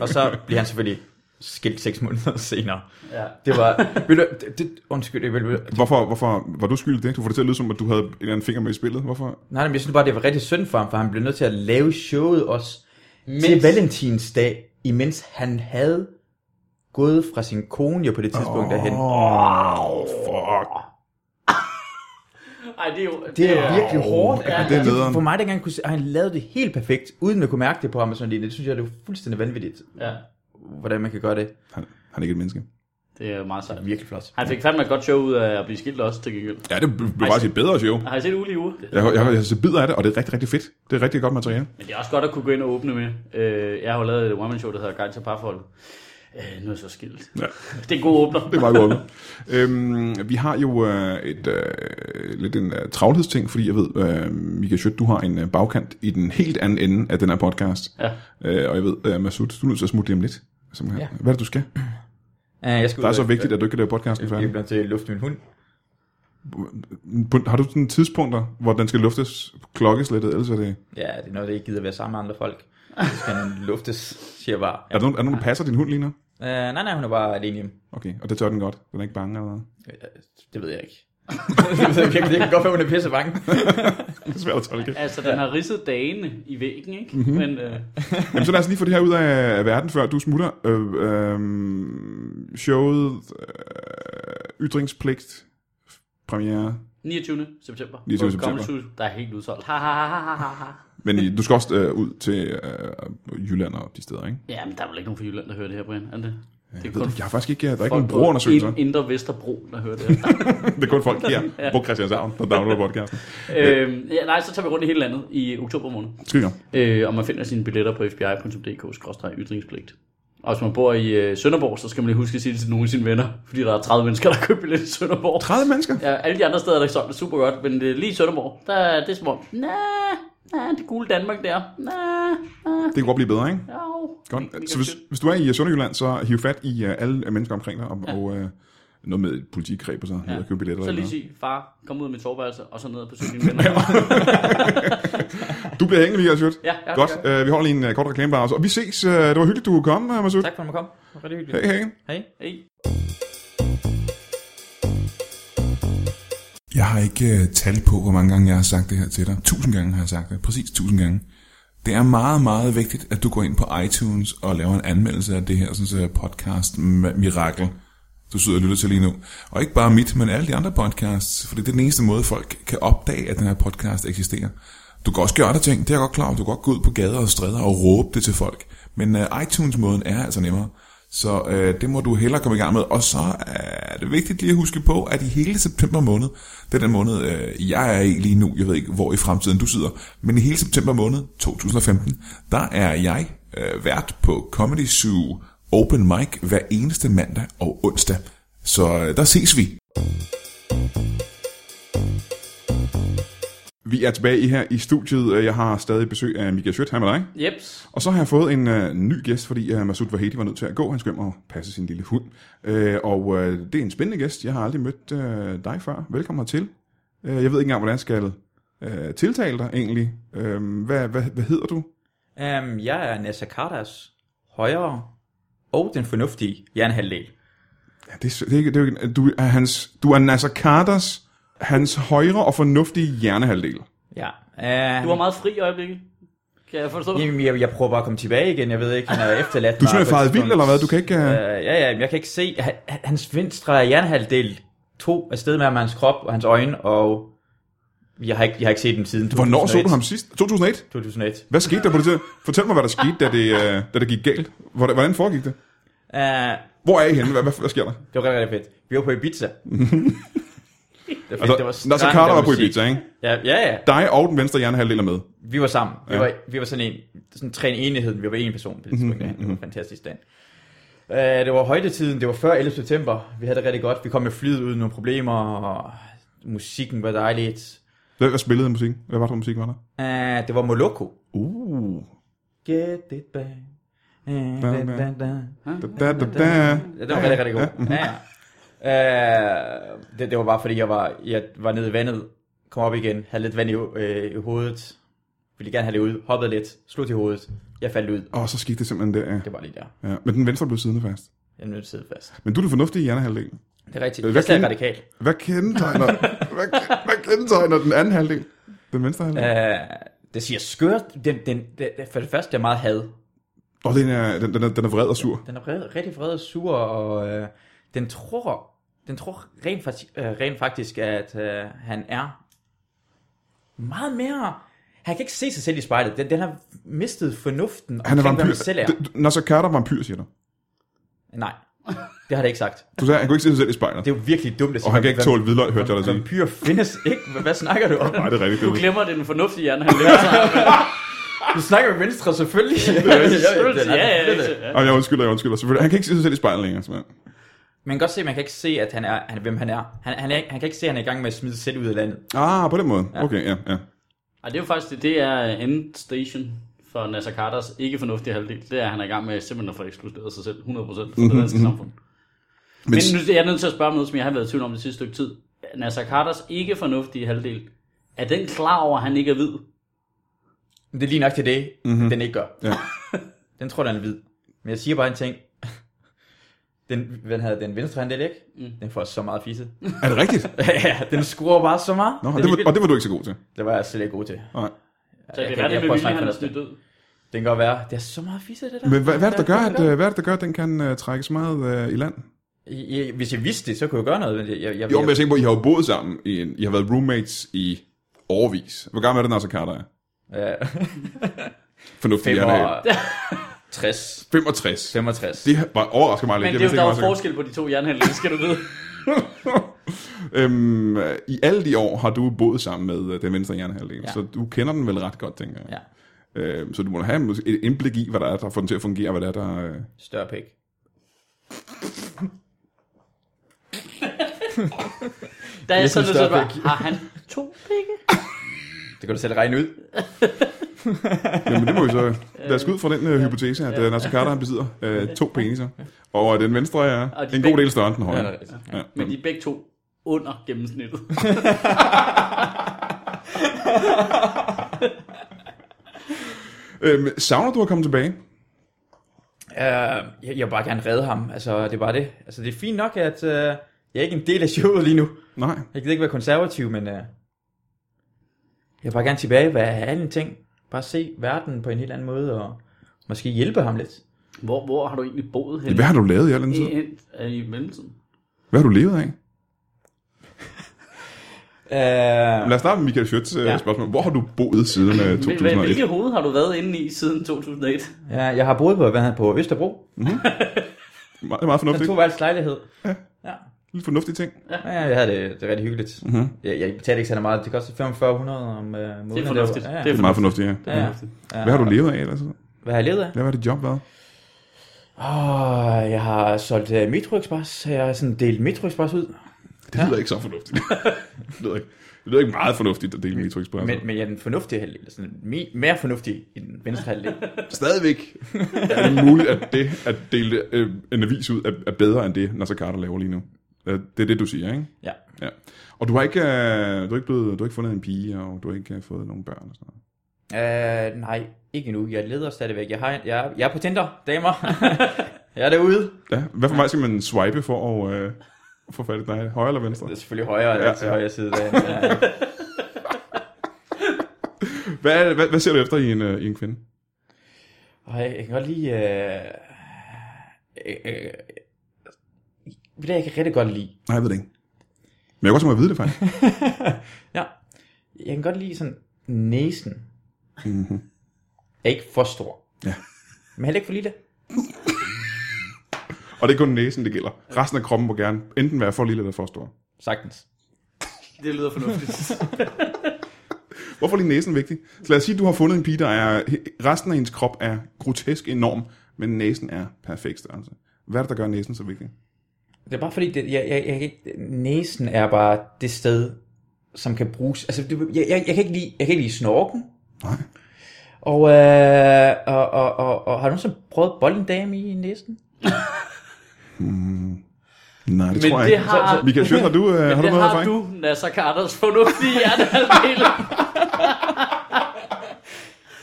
Og så bliver han selvfølgelig skilt seks måneder senere.
Ja.
Det var... Ved du, det, det, undskyld, jeg vil,
Hvorfor, hvorfor var du skyldig i det? Du får det til at lyde som, at du havde en eller anden finger med i spillet. Hvorfor?
Nej, men jeg synes bare, det var rigtig synd for ham, for han blev nødt til at lave showet også mens... til valentinsdag, imens han havde gået fra sin kone jo på det tidspunkt oh. derhen.
Åh, oh, fuck.
Ej, det er jo...
Det er virkelig hårdt. Altså,
ja, det er nederen.
For mig dengang, kunne se, og han lavede det helt perfekt, uden at kunne mærke det på ham. Og sådan, noget. det synes jeg, det var fuldstændig vanvittigt,
Ja,
hvordan man kan gøre det. Det
Han, han er ikke et menneske.
det er meget sejt.
er virkelig flot.
Han fik fandme et godt show ud af at blive skilt også, til gengæld.
Ja, det blev faktisk et bedre show.
Har I set Uli i uge?
Jeg, jeg, jeg, jeg ser bidder af det, og det er rigtig, rigtig fedt. Det er rigtig godt materiale.
Men det er også godt at kunne gå ind og åbne med. Øh, jeg har jo lavet et one show der hedder Guide til Parforhold. Øh, nu er jeg så skilt.
Ja.
Det er en god åbner.
Det er meget godt. øhm, vi har jo øh, et, øh, lidt en øh, travlhedsting, fordi jeg ved, øh, Mika Schødt, du har en øh, bagkant i den helt anden ende af den her podcast.
Ja.
Øh, og jeg ved, øh, Masud, du er nødt til at smutte lige om lidt. Som, ja.
Ja.
Hvad er det, du skal?
Uh, jeg skal
Der er
ud
så
og-
vigtigt, at du ikke kan lave podcasten
Jeg
færdig.
bliver til at lufte min hund.
Har du sådan tidspunkter, hvor den skal luftes klokkeslættet, ellers er det...
Ja, det er noget, der ikke gider være sammen med andre folk. Så skal den luftes, siger jeg bare.
Er der nogen, er der, nogen der passer din hund lige nu?
Uh, nej, nej, hun er bare alene hjemme.
Okay, og det tør den godt. Den er ikke bange eller noget.
Øh, Det ved jeg ikke. det ved jeg virkelig ikke. Det kan godt være, hun er pisse bange.
Det er svært at tolke.
Altså, den har ridset dagene i væggen, ikke?
Mhm.
Mm-hmm. Men øh,
Jamen, så lad os lige få det her ud af verden, før du smutter. Øh, øh, showet øh, Ytringspligt premiere.
29. september.
29.
på Comedy Zoo, Der er helt udsolgt. Ha, ha, ha, ha, ha, ha.
Men I- du skal også øh, ud til øh, Jylland og de steder, ikke?
Ja, men der er vel ikke nogen fra Jylland, der hører det her, Brian? Er det? det
Jeg, ved, det ikke. jeg har faktisk ikke, der er ikke nogen brugerundersøgelser.
ind- Indre Vesterbro, der hører det her.
Det er kun folk her på Christianshavn, der downloader podcasten.
øhm, ja, nej, så tager vi rundt i hele landet i oktober måned.
Skide godt.
Øh, og man finder sine billetter på fbi.dk-ytringspligt. Og hvis man bor i øh, Sønderborg, så skal man lige huske at sige det til nogle af sine venner, fordi der er 30 mennesker, der køber billetter i Sønderborg.
30 mennesker?
Ja, alle de andre steder, der er solgt, er super godt, men øh, lige i Sønderborg, der er det som om, nej, nej, det gule Danmark der, nej, nej,
Det kan godt blive bedre, ikke?
au.
Godt. Så hvis, hvis du er i øh, Sønderjylland, så hiv fat i øh, alle øh, mennesker omkring dig, og, ja. og øh, noget med et politikreb og så, ja. og købe billetter.
Så
eller
lige
noget.
sige, far, kom ud af mit soveværelse, og så ned på cyklen venner.
Du bliver hængende, Michael Schutt.
Ja, ja,
Godt,
det
øh, vi holder lige en øh, kort reklamepause, og vi ses. Øh, det var hyggeligt, du kunne komme, øh, Masud.
tak for, at du kom. Det var rigtig hyggeligt.
Hej, hej.
Hej.
Hey.
Jeg har ikke øh, tal på, hvor mange gange jeg har sagt det her til dig. Tusind gange har jeg sagt det. Præcis tusind gange. Det er meget, meget vigtigt, at du går ind på iTunes og laver en anmeldelse af det her sådan, så podcast mirakel du sidder og lytter til lige nu. Og ikke bare mit, men alle de andre podcasts, for det er den eneste måde, folk kan opdage, at den her podcast eksisterer. Du kan også gøre andre ting, det er jeg godt klar over. Du kan godt gå ud på gader og stræder og råbe det til folk. Men uh, iTunes-måden er altså nemmere. Så øh, det må du hellere komme i gang med. Og så er det vigtigt lige at huske på, at i hele september måned, det er den måned, øh, jeg er i lige nu, jeg ved ikke, hvor i fremtiden du sidder, men i hele september måned 2015, der er jeg øh, vært på Comedy Zoo Open Mic hver eneste mandag og onsdag. Så øh, der ses vi. Vi er tilbage her i studiet. Jeg har stadig besøg af Mika Schødt. Hej med dig.
Jeps.
Og så har jeg fået en øh, ny gæst, fordi øh, Masud Vahedi var nødt til at gå. Han skulle hjem og passe sin lille hund. Øh, og øh, det er en spændende gæst. Jeg har aldrig mødt øh, dig før. Velkommen hertil. Øh, jeg ved ikke engang, hvordan jeg skal øh, tiltale dig egentlig. Øh, hvad, hvad, hvad hedder du?
Um, jeg er Nasa Kardas højre og den fornuftige hjernehalvdel.
Ja, det, er s- det, er ikke- det, er ikke- du, er hans, du er Nasser Carters, hans højre og fornuftige hjernehalvdel.
Ja. Uh,
Du var meget fri i øjeblikket. Kan jeg forstå?
Jamen, jeg, jeg prøver bare at komme tilbage igen. Jeg ved ikke, han er efterladt
Du er simpelthen faret vild, eller hvad? Du kan ikke... Øh,
Uh, ja, ja, men jeg kan ikke se. Han, han- hans venstre hjernehalvdel tog afsted med ham, hans krop og hans øjne, og jeg har ikke, jeg har ikke set dem siden 2001.
hvornår så du ham sidst? 2001?
2001.
Hvad skete der på det tidspunkt? Fortæl mig, hvad der skete, da det, øh, da det gik galt. Hvordan hvordan foregik det?
Uh,
Hvor er I henne? Hvad, hvad, hvad sker der?
Det var rigtig, rigtig fedt. Vi var på Ibiza. det var fedt.
Altså, Nasser
strand,
Carter
der
var på
musik.
Ibiza, ikke?
Ja, ja, ja.
Dig og den venstre hjernehalvdel er med.
Vi var sammen. Vi,
Ja.
var, vi var sådan en, sådan tre i enighed. Vi var en person på det
Mhm,
tidspunkt. Mm-hmm. Det var en fantastisk dag. Uh, det var højdetiden. Det var før 11. september. Vi havde det rigtig godt. Vi kom med flyet uden nogle problemer, og musikken var dejligt.
Hvad, hvad spillede musik? Hvad var det for musik, var der?
Uh, det var Moloko.
Uh.
Get it back. Uh, da, da, da.
Da, da, da, da.
Ja, det var rigtig, rigtig god. Ja. ja. Øh, det, det var bare fordi, jeg var, jeg var nede i vandet, kom op igen, havde lidt vand i, ho- øh, i hovedet, ville gerne have det ud, hoppede lidt, slog i hovedet, jeg faldt ud.
Og så skete det simpelthen der, ja.
Det var lige der.
ja. Men den venstre blev siddende fast.
Jeg nødt sidde fast.
Men du er den fornuftige hjernehalvdel.
Det er rigtigt.
Hvad
Det er stadig
kan-
radikal.
Hvad kendetegner, hvad, hvad kendetegner den anden halvdel? Den venstre halvdel?
Øh, det siger skørt. Den, den, den, den- for det første, det er meget had.
Og den er, den, den, er, den er vred og sur.
Den er vred, rigtig vred og sur, og øh, den tror, den tror rent, faktisk, øh, rent faktisk, at øh, han er meget mere... Han kan ikke se sig selv i spejlet. Den, den har mistet fornuften
Han er
omkring, hvad
vampyr.
han selv er.
D- d- Nasser Carter er vampyr, siger du.
Nej, det har det ikke sagt.
Du sagde, han kunne ikke se sig selv i spejlet.
Det er jo virkelig dumt at sige.
Og han kan ikke
vamp-
tåle hvidløg, hørte jeg dig sige.
Vampyr findes ikke. Hvad, hvad snakker du om?
Nej, det er rigtigt.
Du
Det er
glemmer, det er den fornuftige hjerne, han lever sig.
Du snakker med venstre, selvfølgelig. Ja,
Selvfølgelig, ja, ja, ja, ja.
rigtigt. Ej, jeg undskylder, jeg undskylder. Selvfølgelig. Han kan ikke se sig selv i spejlet længere, simpelthen.
Man kan godt se, at man kan ikke se, at han er, han, hvem han er. Han, han, er, han kan ikke se, at han er i gang med at smide sig selv ud af landet.
Ah, på den måde. Okay, ja, ja.
Ej, det er jo faktisk det, det er øh, end station for Nasser Carters ikke fornuftige halvdel, det er, at han er i gang med simpelthen at få ekskluderet sig selv 100% fra det danske samfund. Men,
Mhm, s-
nu er jeg nødt til at spørge om noget, som jeg har været i tvivl om det sidste stykke tid. Nasser Carters ikke fornuftige halvdel, er den klar over, at han ikke er hvid?
Men det er lige nok til det, mm-hmm. den ikke gør.
Mhm. Ja.
den tror jeg, den er hvid. Men jeg siger bare en ting. Den, den havde den venstre handel, ikke? Mm. Den får så meget fisse.
Er det rigtigt?
ja, den skruer bare så meget.
Nå,
No.
det var, og det var du ikke så god til.
Det var jeg slet ikke god til.
Nej.
Så det
jeg
er
kan
det med
prøve at
vilje,
snakke
han er
fornuftigt.
snydt ud.
Den kan godt være. Det er så meget fisse, det der.
Men hvad, hvad, er det, der gør, at, øh, hvad er det, der gør, at den kan uh, trække så meget uh, i land?
I- I- Hvis jeg vidste det, så kunne jeg gøre noget. Men jeg, jeg, jeg,
Jo, men jeg tænker på, at I har jo boet sammen. I, en, I har været roommates i årvis. Hvor gammel er det, Nasser Carter er?
Ja,
Fornuftig, han er
65.
65.
65.
Det var overrasker mig lidt.
Men
Jeg
det
vidste ikke,
er jo, der er jo
Nasser-
forskel på de to jernhandler, det skal du vide.
Øhm, I alle de år har du boet sammen med øh, den venstre hjernehalvdel, ja.
Ja.
så du kender den vel ret godt, tænker jeg.
Ja.
Øhm, så du må have et indblik i, hvad der er, der får den til at fungere, hvad der er, der... øh.
Større pik.
Der er
Ligesom
sådan noget, så
Størbæk.
bare, har han to pikke?
Det kan du selv regne ud.
Jamen det må vi så... Lad os gå ud fra den øh, hypotese, at øh, Nasser Carter han besidder øh, to peniser, og øh, den venstre er
Og de
en
begge-
god del større end den højre.
Ja, det er rigtigt.
Ja.
Men de er begge to under gennemsnittet.
Øhm, savner du at komme tilbage?
Uh, jeg, jeg vil bare gerne redde ham. Altså, det er bare det. Altså, det er fint nok, at uh, jeg er ikke en del af showet lige nu.
Nej.
Jeg gider ikke være konservativ, men uh, jeg vil bare gerne tilbage hvad er alle ting. Bare se verden på en helt anden måde, og måske hjælpe ham lidt.
Hvor, hvor har du egentlig boet henne?
Hvad har du lavet i al den tid?
I, i, i mellemtiden.
Hvad har du levet af?
Uh,
Lad os starte med Michael Schøtz øh,
Ja.
spørgsmål. Hvor har du boet siden øh,
Hvil- hvil-
2001?
Hvilke hoved har du været inde i siden 2001?
ja, jeg har boet på, hvad han på Østerbro.
Meget, meget
Den
fornuftigt.
to værelses lejlighed. Ja.
Lidt fornuftig ting.
Ja, jeg havde det, det er rigtig hyggeligt. Mm-hmm. Jeg, jeg betalte ikke særlig meget. Det koster 4500 om uh, måneden.
Det er fornuftigt.
Ja, ja.
Det er meget fornuftigt, ja.
Det er
Ja.
fornuftigt.
Ja.
Hvad har du levet af ellers?
Hvad har jeg levet af?
Hvad var dit job været?
Åh, jeg har solgt uh, Metro Express. Jeg har sådan delt Metro Express ud.
Det lyder ikke så fornuftigt. det, lyder ikke, det lyder ikke meget fornuftigt at dele Metro Express. Men,
Men, men jeg er den fornuftige halvdel. eller Sådan, me, mere fornuftig end den venstre halvdel.
stadigvæk er det muligt, at det at dele øh, en avis ud er, er bedre end det, Nasser Carter laver lige nu. Øh, Det er det, du siger, ikke?
ja.
Ja. Og du har ikke, øh, du har ikke, blevet, du har ikke fundet en pige, og du har ikke øh, fået nogen børn og sådan noget.
Uh, nej, ikke endnu. Jeg leder stadigvæk. Jeg, har, jeg, er- jeg er på Tinder, damer. jeg er derude.
Ja, hvad for mig skal man swipe for at øh, få fat i dig? Højre eller venstre?
Det er selvfølgelig højre,
Ja,
ja, til
ja.
højre side. øh, Ja, ja.
Hvad, er- hvad, hvad ser du efter i en, øh, i en kvinde?
Og jeg, jeg kan godt lide... Øh, øh, øh, det jeg kan rigtig godt lide.
Nej, jeg ved det ikke. Men jeg kan godt tænke mig at vide det, faktisk.
Ja. Jeg kan godt lide sådan næsen. Mm-hmm. Er ikke for stor.
Ja.
Men heller ikke for lille.
Og det er kun næsen, det gælder. Resten af kroppen må gerne enten være for lille eller for stor.
Sagtens.
Det lyder fornuftigt.
Hvorfor er lige næsen vigtig? Så lad os sige, at du har fundet en pige, der er... Resten af hendes krop er grotesk enorm, men næsen er perfekt størrelse. Hvad er det, der gør næsen så vigtig?
Det er bare fordi, det, jeg, jeg, jeg, kan ikke- næsen er bare det sted, som kan bruges. Altså, det, jeg, jeg, jeg, kan ikke lide, jeg kan ikke lide snorken.
Nej.
Og, øh, og, og, og, og har du nogensinde prøvet bollendame i næsen?
Nej, det
Men
tror jeg
det
ikke.
har-
Så- Michael Schødt, har du, øh, har du
det
noget
har
erfaring? Du...
du, Nasser Carters fornuftige hjertehalvdel.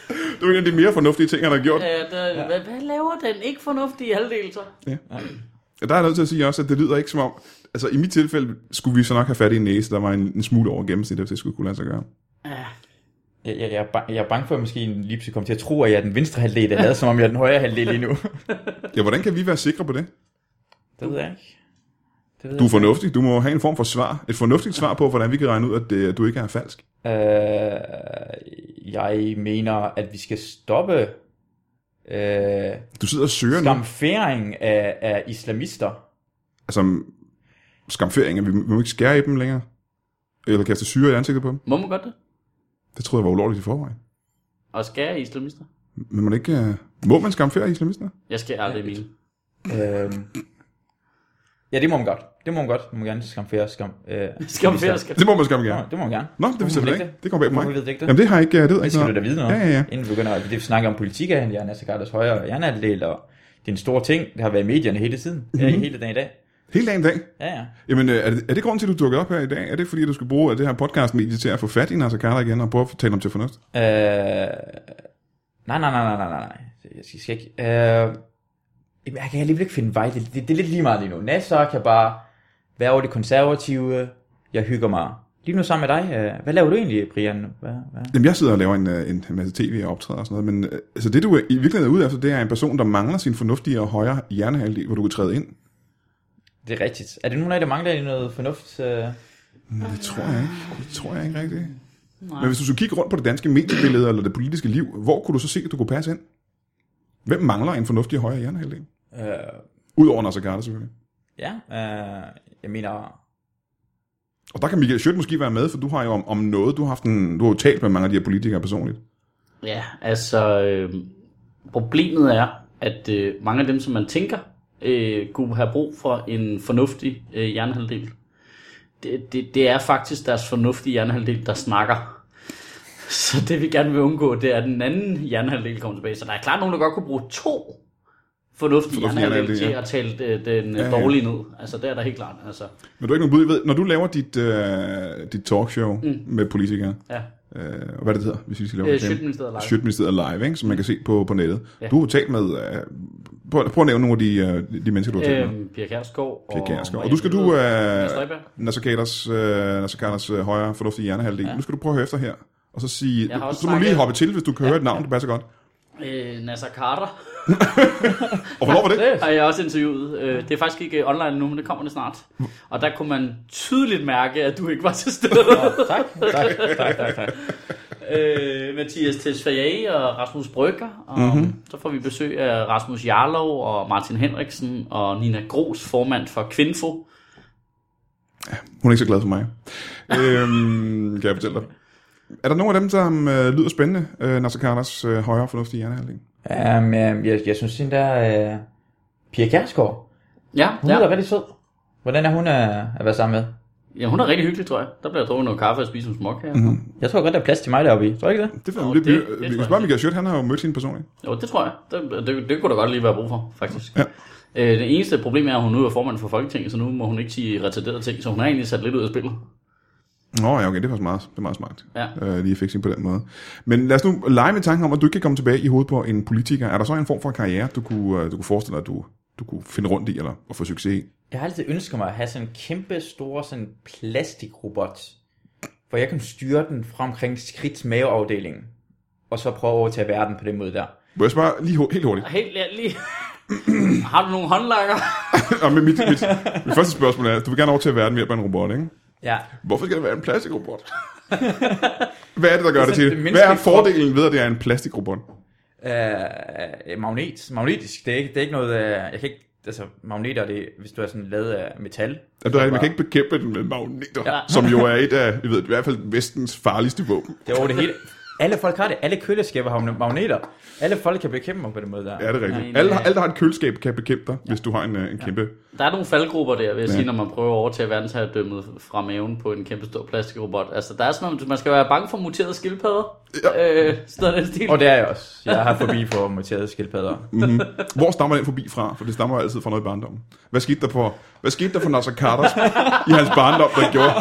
Det er jo en af de mere fornuftige ting, han har gjort.
Øh, der- hvad, hvad laver den ikke fornuftige halvdel så?
Der er jeg nødt til at sige også, at det lyder ikke som om... Altså, i mit tilfælde skulle vi så nok have fat i en næse, der var en, en smule over gennemsnittet, hvis det skulle kunne lade sig gøre.
Ah,
Jeg, jeg, jeg, er bange, jeg er bange for, at måske en lipse kommer til at tro, at jeg er den venstre halvdel, der lader, som om jeg er den højre halvdel lige nu.
Ja, hvordan kan vi være sikre på det?
det ved jeg ikke. Det ved
Du er fornuftig. Du må have en form for svar. Et fornuftigt svar på, hvordan vi kan regne ud, at øh, du ikke er falsk.
jeg. Øh, jeg mener, at vi skal stoppe øh,
Du sidder og søger nu.
skamfæring af, af islamister.
altså, skamferinger. Vi må ikke skære i dem længere. Eller kaste syre i ansigtet på dem.
Må man godt det?
Det troede jeg var ulovligt i forvejen.
Og skære islamister?
Men man ikke... øh, Må man skamfere islamister?
Jeg skærer aldrig mine.
Øhm, Ja, det må man godt. Det må man godt. Man må gerne skamfere skam... Øh,
Skamfere, skam.
Det må man skam
Ja.
gerne.
det må man gerne.
Nå, det vidste jeg da
man ikke
ikke. Det kommer bag på mig.
Hvorfor ved du ikke det?
Jamen det har jeg ikke, øh, det ved jeg
Det
ikke
skal du
noget
da
om.
vide noget,
Ja, ja, ja.
inden vi begynder. Det vi snakker om politik er, jeg er Nasser Garders højre hjerneatlet, og det er en stor ting. Det har været i medierne hele tiden.
Mhm.
Mm-hmm. Hele dagen i dag.
Hele dagen i dag.
Ja, ja.
Jamen, øh, er det, er det grunden til, at du dukkede op her i dag? Er det fordi, du skulle bruge øh, det her podcast-medie til at få fat i Nasser Carter igen og prøve at tale om til fornuft?
Øh, nej, nej, nej, nej, nej, nej, nej. Jeg skal, skal ikke. Øh, jamen, jeg kan alligevel ikke finde vej. Det, det, det er lidt lige meget lige nu. Nasser kan bare være over det konservative. Jeg hygger mig. Lige nu sammen med dig. øh, Hvad laver du egentlig, Brian? Hvad, hvad?
Jamen, jeg sidder og laver en, øh, en masse tv og optræder og sådan noget, men øh, altså, det, du er, i virkeligheden er ude efter, det er en person, der mangler sin fornuftige og højre hjernehalvdel, hvor du kan træde ind.
Det er rigtigt. Er det nogen af jer, der mangler noget fornuft? Øh?
Men det tror jeg ikke. Det tror jeg ikke rigtigt. Nej. Men hvis du skulle kigge rundt på det danske mediebillede eller det politiske liv, hvor kunne du så se, at du kunne passe ind? Hvem mangler en fornuftig højre hjernehalvdel?
Øh,
Udover Nasser Carter selvfølgelig.
ja, øh, jeg mener...
Og der kan Michael Schødt måske være med, for du har jo om, om noget, du har, haft en, du har jo talt med mange af de her politikere personligt.
Ja, altså øh, problemet er, at øh, mange af dem, som man tænker, øh, kunne have brug for en fornuftig øh, hjernehalvdel, det, det, det er faktisk deres fornuftige hjernehalvdel, der snakker. Så det vi gerne vil undgå, det er, at den anden hjernehalvdel kommer tilbage. Så der er klart nogen, der godt kunne bruge to fornuftige,
Fornuftige
hjernehalvdele
hjernehalvdele,
til
ja.
at tale øh, den
Ja,
ja,
ja.
dårlige ned. Altså, det er der helt klart. Altså,
Men du har ikke nogen bud, Jeg ved, når du laver dit, øh, dit talkshow mm. med politikere,
ja.
øh, og hvad det hedder, hvis vi skal lave
Øh,
reklame?
Sjøtministeriet live.
Sjøtministeriet live, ikke, som man kan se på, på nettet. Ja.
Ja.
Du har jo talt med, øh, prøv, prøv at nævne nogle af de, øh, de mennesker, du har talt øh, med.
Øhm, Pia Kjærsgaard og...
Pia Kjærsgaard. Og
Maria
nu skal du,
Løde.
øh,
Inger Støjberg.
Nasser Carters, øh, Nasser Carters øh, højre fornuftige hjernehalvdel, ja. nu skal du prøve at høre efter her, og så sige,
Jeg har
du,
også
så må du lige
snakket-
hoppe til, hvis du kan ja. høre et navn, det passer godt.
Øh, Nasser Carter.
Og hvornår var det?
har jeg også interviewet. Øh, Det er faktisk ikke øh, online nu, men det kommer det snart. Og der kunne man tydeligt mærke, at du ikke var til stede.
Tak, tak, tak, tak, tak.
øh, Mathias Tesfaye og Rasmus Brygger. Og
Mhm.
mm-hmm. så får vi besøg af Rasmus Jarlov og Martin Henriksen og Nina Gros, formand for Kvinfo.
Hun er ikke så glad for mig. øhm, kan jeg fortælle dig. Er der nogen af dem, som øh, lyder spændende, øh, Nasser Carters øh, højre fornuftige hjernehalvdel?
Um, jeg, jeg, jeg synes, den der øh, Pia Kjærsgaard,
Ja,
hun ja. er da
ja.
rigtig sød. Hvordan er hun øh, at være sammen med?
ja, hun er rigtig hyggelig, tror jeg. Der bliver drukket noget kaffe og spist en smok her. Mm-hmm.
Jeg tror godt, der er plads til mig deroppe i. Tror du ikke det?
Det ved
Nå,
oh, det,
det-
det,
det tror
det,
jeg
det, spørge
ikke.
Michael Schødt, han har jo mødt sine personligt.
Jo, det tror jeg. Det, det, det kunne der godt lige være brug for, faktisk. Ja. Øh, det eneste problem er, at hun nu er formand for Folketinget, så nu må hun ikke sige retarderede ting, så hun er egentlig sat lidt ud af spillet.
Nå, ja, okay, det er faktisk meget, det er meget smart.
Ja.
Øh, lige at fikse på den måde. Men lad os nu lege med tanken om, at du ikke kan komme tilbage i hovedet på en politiker. Er der så en form for karriere, du kunne, øh, du kunne forestille dig, at du, du kunne finde rundt i, eller at få succes i?
Jeg har altid ønsket mig at have sådan en kæmpe, stor sådan plastikrobot, hvor jeg kan styre den fra omkring skridts maveafdelingen, og så prøve at overtage verden på den måde der.
Må jeg spørge lige hu- helt hurtigt?
Helt ærlig. Har du nogle håndlanger?
og med mit, mit, mit, første spørgsmål er, du vil gerne overtage verden ved hjælp af en robot, ikke?
Ja,
Hvorfor skal det være en plastikrobot? Hvad er det, der gør det,
Altså,
sådan
til?
det
Hvad er
menneskelige krop.
fordelen ved, at det er en plastikrobot?
øh, magnet, magnetisk, det er ikke, det er ikke noget, øh, jeg kan ikke, altså magneter, det, er, hvis du er sådan lavet af metal.
At du, man kan ikke bekæmpe den med magneter, ja. som jo er et af, jeg ved, i hvert fald vestens farligste våben.
Det er over det hele. Alle folk har det. Alle køleskaber har magneter. Alle folk kan bekæmpe mig på den måde der.
Ja, det er rigtigt.
Nej,
Alle,
nej.
alle, der har et køleskab, kan bekæmpe dig, hvis du har en, øh, en kæmpe...
Der er nogle faldgrupper der, vil jeg
Ja.
ja. sige, når man prøver at overtage verdensherredømmet fra maven på en kæmpe stor plastikrobot. Altså, der er sådan noget, man skal være bange for muterede skildpadder. Ja. Øh, sådan noget i den stil.
Og det er jeg også. Jeg har forbi for muterede skildpadder.
Mm-hmm. Hvor stammer den forbi fra? For det stammer jo altid fra noget i barndommen. Hvad skete der for, hvad skete der for Nasser Carter i hans barndom, der gjorde,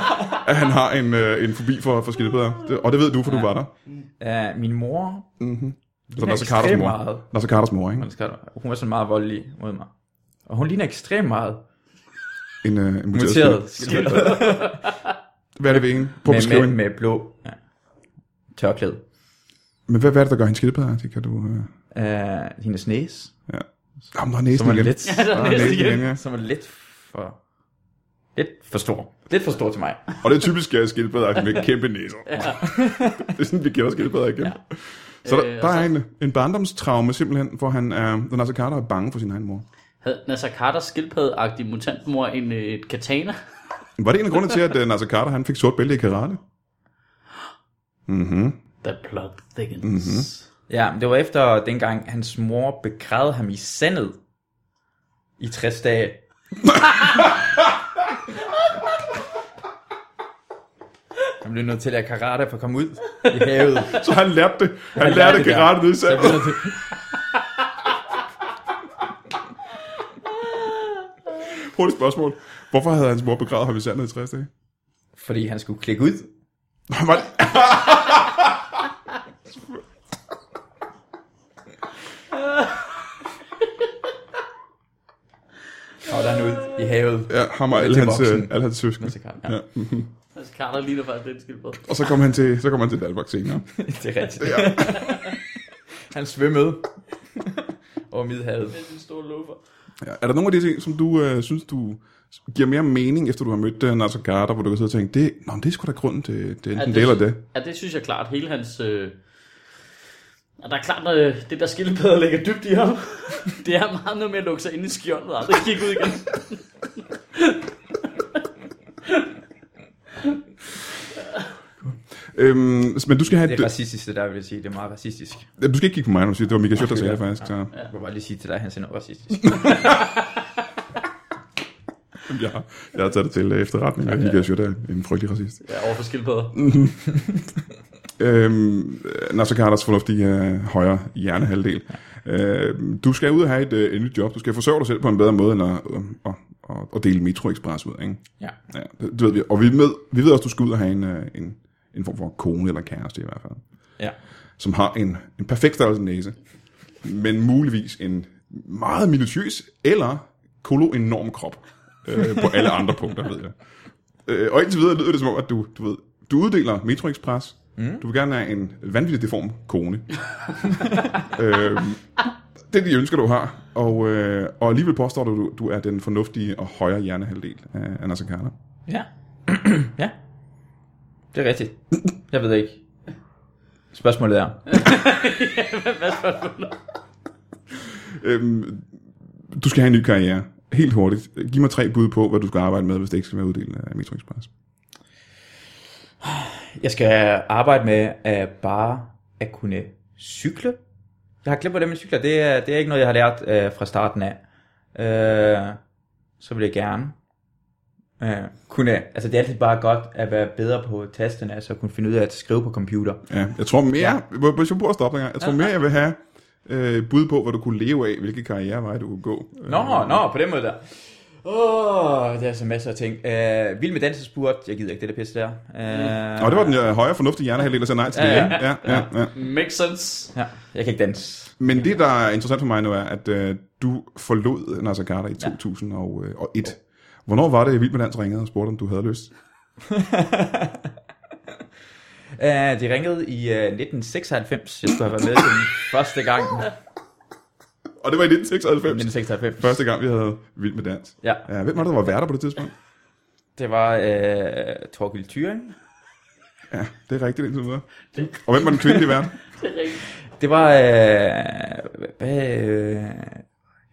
at han har en, øh, en forbi for, for skildpadder? Det- Og det ved du, for du var der.
Uh, min mor,
Det var Nasser Carters
ekstremt
mor.
meget.
Nasser Carters mor, ikke?
hun var sådan meget voldelig mod mig. Og hun ligner ekstremt meget
En, øh, en muteret
muteret
skildpadde.
skildpadder.
Hvad er det ved en? Prøv at
med,
beskrive
med,
en.
med blå ja. tørklæde.
Men hvad, hvad er det, der gør hende skildpadder? Det kan du... Øh...
Uh, hendes næse,
Ja. Jamen, der er næsen
som er
igen.
lidt,
der
Der er
er næsen
næsen
igen.
Ah, igen, ja.
som er lidt for, lidt for stor. Lidt for stor til mig.
Og det er typisk øh, skildpadder med kæmpe næser. Ja. det er sådan, vi kender skildpadder igen. Ja. Så der,
Øh, og
der
så-
er en, en barndomstraume simpelthen, hvor han er, hvor Nasser Carter er bange for sin egen mor.
Havde Nasser Carters skildpaddeagtig mutantmor en øh, et katana?
Var det en af grundene til, at øh, Nasser Carter han fik sort bælte i karate? Mhm.
The plot thickens. Mm-hmm.
Ja, men det var efter dengang hans mor begravede ham i sandet i 60 dage. Han blev nødt til at lære karate for at komme ud i havet.
Så han lærte det. Han, han
lærte
lærte,
det der.
karate nede i
Så han
sandet.
blev nødt til...
Hurtigt spørgsmål. Hvorfor havde hans mor begravet ham i sandet i 60 dage?
Fordi han skulle klikke ud.
Han var...
Og der er han ud i havet.
Ja, ham og alle
til
hans,
voksen.
øh, alle hans søskende.
Så kan han-
Ja.
Ja.
Altså, Carter ligner faktisk lidt skildpadde.
Og så kom han til, så kom han til Danmark senere.
Det er rigtigt. Han svømmede over Middelhavet.
Med sin store loafer.
Ja. Er der nogle af de ting, som du øh, synes, du giver mere mening, efter du har mødt øh, Nasser Carter, hvor du kan sidde og tænke, det, nå, men det er sgu da grunden til, til enten ja, det, eller det.
Ja, det synes jeg klart. Hele hans... Øh... Og der er klart, at det der skildpadde ligger dybt i ham. det er meget noget med at lukke sig ind i skjoldet og aldrig kigge ud igen.
Øhm, men du skal have
Det
et,
er racistisk, det der vil jeg sige. Det er meget racistisk.
du skal ikke kigge på mig, når du siger, det var Michael Schutt, der sagde det faktisk. Så.
Jeg vil bare lige sige til dig, at han sender racistisk.
Jeg, har- jeg har taget det til øh, efterretning, at Michael Schutt er en frygtelig racist.
Ja, overfor skildpadder.
Øhm, Nasser Carters fornuftige øh, højre hjernehalvdel. Øhm, du skal ud og have et øh, endeligt job. Du skal forsørge dig selv på en bedre måde, end at, øh, at, at, at dele Metro Express ud. Ikke?
Ja.
Ja, det, det ved vi. Og vi ved, vi ved også, at du skal ud og have en, øh, en, en form for kone eller kæreste i hvert fald,
ja.
som har en, en perfekt størrelse næse, men muligvis en meget minutiøs eller kolo-enorm krop øh, på alle andre punkter, ved jeg. Øh, og indtil videre lyder det som om, at du, du ved, du uddeler Metro Express, mm. du vil gerne have en vanvittig deform kone. øh, det er de ønsker, du har, og, øh, og alligevel påstår du, du, du er den fornuftige og højre hjernehalvdel af, af Nasser Carter.
Ja. ja. Det er rigtigt. Jeg ved ikke. Spørgsmålet er,
Øhm, du skal have en ny karriere. Helt hurtigt. Giv mig tre bud på, hvad du skal arbejde med, hvis det ikke skal være uddelen af Metro Express.
jeg skal arbejde med at bare at kunne cykle. Jeg har glemt, hvordan man cykler. Det er, det er ikke noget, jeg har lært øh, fra starten af. Øh, så vil jeg gerne øh, kunne... Altså, det er altid bare godt at være bedre på tasterne, altså at kunne finde ud af at skrive på computer.
Ja, jeg tror mere, ja. hvis jeg burde stoppe dengang, jeg tror mere, jeg vil have øh, bud på, hvad du kunne leve af, hvilke karriereveje du kunne gå. Øh,
Nå, nå, på den måde der. Åh, oh, der er så masser af ting. Øh, vild med dansespurt. Jeg gider ikke det der pisse der. Øh,
Og det var den øh, højre fornuftige hjernehalvdel, der sagde nej til det.
Ja,
ikke? Ja, ja, ja.
Makes sense.
Ja, jeg kan ikke danse.
Men det, der er interessant for mig nu, er, at øh, du forlod Nasser Carter i 2001. øh, Hvornår var det, at Vild med Dans ringede og spurgte, om du havde lyst?
Uh, de ringede i uh, 1996. Jeg skulle have været med den første gang.
Og det var i 1996.
1996.
Første gang, vi havde Vild med Dans.
Ja,
Ja, hvem var det, der var værter på det tidspunkt?
det var uh, Torgild Thyring.
Ja, det er rigtigt indtil videre. Og hvem var den kvindelige vært?
Det er rigtigt.
Det var... Uh, hvad, uh,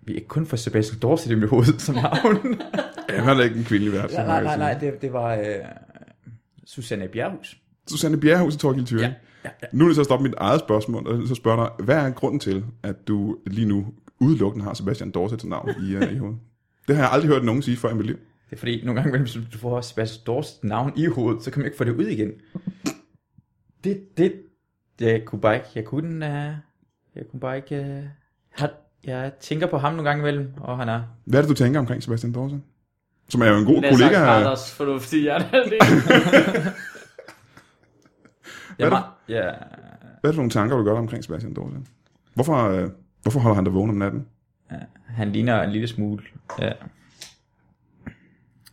vi er ikke kun for Sebastian Dorset i mit hoved som navn.
Ja, han er ikke en kvindelig vært. så
nej,
må
nej,
jeg
nej,
sige.
nej. Det, det var uh, Susanne Bjerghus.
Susanne Bjerrehus og Torgild Thyring. Ja, ja, ja. Nu er det så at stoppe mit eget spørgsmål, og så spørger dig, hvad er grunden til, at du lige nu udelukkende har Sebastian Dorsets navn i, uh, i hovedet? Det har jeg aldrig hørt nogen sige før i mit liv.
Det er fordi, nogle gange, hvis du får Sebastian Dorsets navn i hovedet, så kan man ikke få det ud igen. Det, det, jeg kunne bare ikke, jeg kunne, uh, jeg kunne bare ikke, uh, har, jeg tænker på ham nogle gange imellem, og han er,
Hvad er det, du tænker omkring Sebastian Dorset? Som er jo en god
Nasser
kollega. af-
Carters altså fornuftige hjernehalvdel.
jeg,
er
er
det?
meget- jeg,
Hvad er det for nogle tanker, du gør dig omkring Sebastian Dorset? Hvorfor, uh, hvorfor holder han dig vågen om natten?
han ligner en lille smule, uh,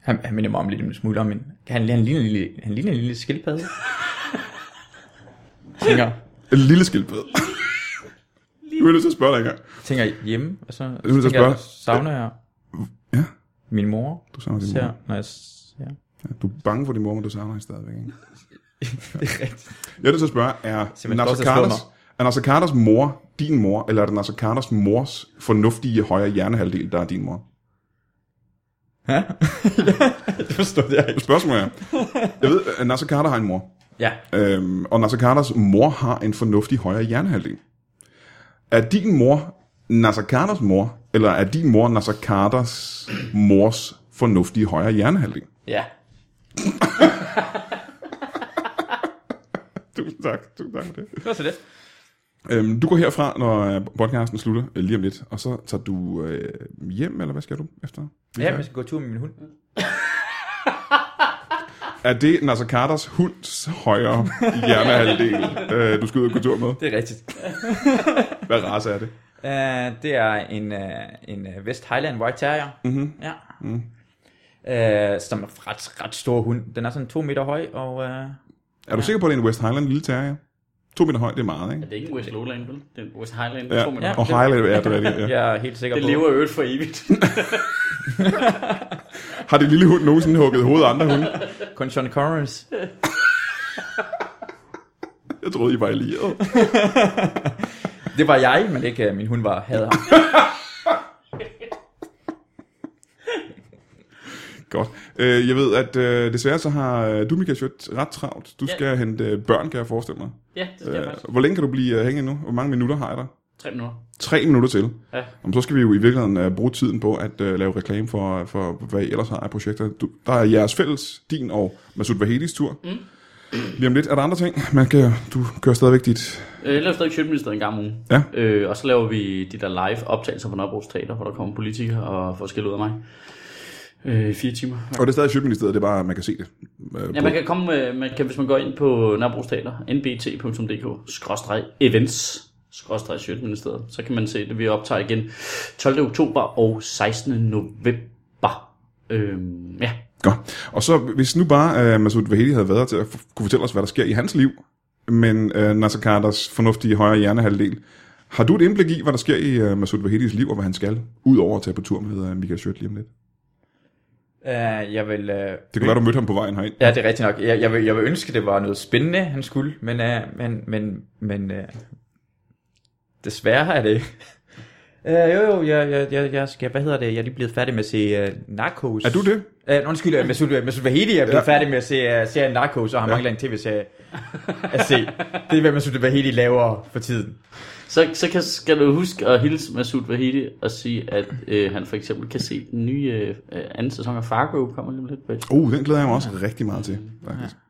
han, han minder mig om lidt en smule om en, han, han ligner en lille, han ligner en lille skildpadde. tænker,
En lille skildpadde. Nu er jeg nødt til at spørge dig engang.
tænker hjemme, og så,
er så
tænker jeg,
spørge.
savner jeg
Ja,
min mor,
du savner din
ser,
mor.
når jeg ser.
Ja, Du er bange for din mor, men du savner hende stadigvæk. Ikke?
Det er rigtigt.
Jeg er nødt til at spørge, er
Simpelthen
Nasser
stolt af at slå
Carters, er Nasser Carters mor din mor, eller er det Nasser Carters mors fornuftige højre hjernehalvdel, der er din mor?
Det forstod jeg ikke.
Spørgsmålet er, jeg ved, at Nasser Carter har en mor,
Ja,
øhm, og Nasser Carters mor har en fornuftig højre hjernehalvdel. Er din mor Nasser Carters mor, eller er din mor Nasser Carters mors fornuftige højre hjernehalvdel?
Ja.
Tusind tak, tusind tak for det.
Det var så det.
Øhm, du går herfra, når øh, podcasten slutter, øh, lige om lidt, og så tager du øh, hjem, eller hvad skal du efter?
Ja, jeg skal gå tur med min hund.
Er det Nasser Carters hunds højre hjernehalvdel, øh, du skal ud og gå tur med?
Det er rigtigt.
Hvad race er det?
Uh, det er en, uh, en uh, West Highland White Terrier. Mm-hmm. Ja. Mm. Uh, som er en ret, ret stor hund. Den er sådan to meter høj, og uh,
Er du sikker på, at det er en West Highland lille terrier? To meter høj, det er meget, ikke?
Det er ikke en West Lowland, vel? Det er en West Highland.
Ja,
Ja. Man. Ja.
og Highland er det rigtigt, ja.
jeg er helt sikker
Det
på...
lever i øvrigt for evigt.
Har det lille hund nogensinde hugget hovedet af andre hunde?
Kun Sean Connerys.
Jeg troede, I var allieret.
Det var jeg, men ikke øh, min hund var havde ham.
Godt. Øh, jeg ved, at øh, desværre så har øh, du, Michael Schødt, ret travlt. Du skal hente øh, børn, kan jeg forestille mig.
ja, det skal jeg faktisk.
Øh, hvor længe kan du blive øh, hængende nu? Hvor mange minutter har jeg der?
Tre minutter.
Tre minutter til.
Ja.
Jamen, så skal vi jo i virkeligheden øh, bruge tiden på at øh, lave reklame for, for, hvad I ellers har af projekter. Du, der er jeres fælles, din og Masud Vahedis tur. Mm. Lige om lidt er der andre ting. Man kan, du kører stadigvæk dit...
Øh, Jeg laver stadig Sjøtministeriet en gang om ugen.
Ja.
Øh, og så laver vi de der live optagelser fra Nørrebros Teater, hvor der kommer politikere og får skæld ud af mig. Øh, i fire timer.
Og det er stadig Sjøtministeriet, det er bare, at man kan se det. Øh,
Ja, man kan komme, øh, man kan, hvis man går ind på Nørrebros Teater, nbt.dk, skråstreg events, skråstreg Sjøtministeriet, så kan man se det. Vi optager igen 12. oktober og 16. november. Øhm, ja,
Godt. Og så, hvis nu bare uh, Masoud Vahedi havde været her til at f- kunne fortælle os, hvad der sker i hans liv, men uh, Nasser Carters fornuftige højre hjernehalvdel, har du et indblik i, hvad der sker i uh, Masoud Vahedis liv, og hvad han skal, udover at tage på tur med uh, Michael Schødt lige om lidt?
Uh, jeg vil... Uh,
Det kunne være, du mødte ham på vejen herind.
Ja, det er rigtigt nok. Jeg, jeg, vil, jeg vil ønske, det var noget spændende, han skulle, men, uh, men, men, men uh, desværre er det ikke. Uh, jo, jo, jeg, jeg, jeg, jeg skal, hvad hedder det, jeg er lige blevet færdig med at se uh, Narcos.
Er du det?
Uh, undskyld, øh, Masoud, Masoud Vahedi er blevet
Ja.
ja. færdig med at se uh, serien Narcos, og har
Ja.
ja. mangler en tv-serie at se. Det er, hvad Masoud Vahedi laver for tiden.
så, så kan, skal du huske at hilse Masoud Vahidi og sige, at øh, han for eksempel kan se den nye øh, øh, anden sæson af Fargo, kommer lige om lidt på
Uh, den glæder jeg mig også rigtig meget til, faktisk. Ja.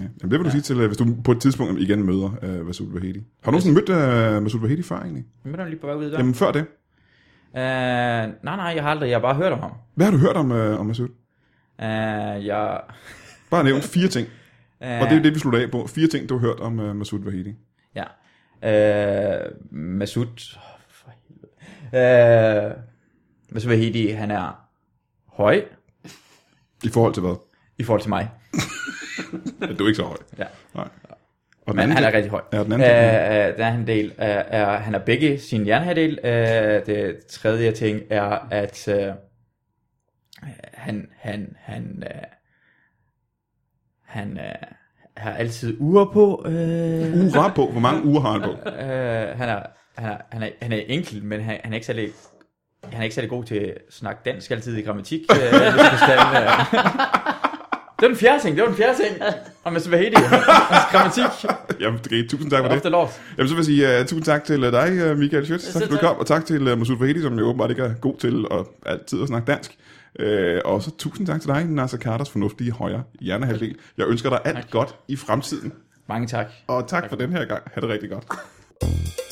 Jamen, det vil du sige til, øh, hvis du på et tidspunkt igen møder uh, Masoud Vahedi. Har du nogensinde mødt uh, Masoud Vahedi før, egentlig?
Hvad er der lige på vej ud der?
Jamen, før det.
Uh, nej, nej, jeg har aldrig, jeg har bare hørt om ham.
Hvad har du hørt om, uh, om Masoud?
Uh, jeg...
Bare nævnt fire ting,
Uh,
og det er det, vi slutter af på. Fire ting, du har hørt om uh, Masoud Vahedi.
Ja. Øh, Masud. Oh, for helvede. Øh, Masud Vahedi, han er høj
I forhold til hvad?
i forhold til mig.
Ja, du er ikke så høj.
Ja.
Nej. Og den
Men han er
ting-
rigtig høj.
Ja, den anden ting.
Øh, øh, den anden del øh, er, han er begge sin hjernehalvdel. Øh, det tredje ting er, at øh, han, han, han, øh, han øh, har altid uger på. Øh,
Uger på. Hvor mange uger har han på?
Øh, han, er, han, er, han, er, han er enkel, men han, han er ikke særlig... Han er ikke særlig god til at snakke dansk altid i grammatik. Øh, hvis man skal, øh. det var den fjerde ting, det var den fjerde ting. Og med Svahedi, hans grammatik,
Jamen, det er tusind tak for
er ofte
det.
lort.
Jamen, så vil jeg sige uh, tusind tak til øh, dig, øh, Michael Schütz. Tak
selv
fordi du
tak.
kom, og tak til uh, Masud Fahedi, som jo åbenbart ikke er god til at altid at snakke dansk. Øh, og så tusind tak til dig, Nasser Carters fornuftige højre hjernehalvdel. Jeg ønsker dig alt godt i fremtiden.
Mange tak.
Og tak for den her gang. Ha' det rigtig godt.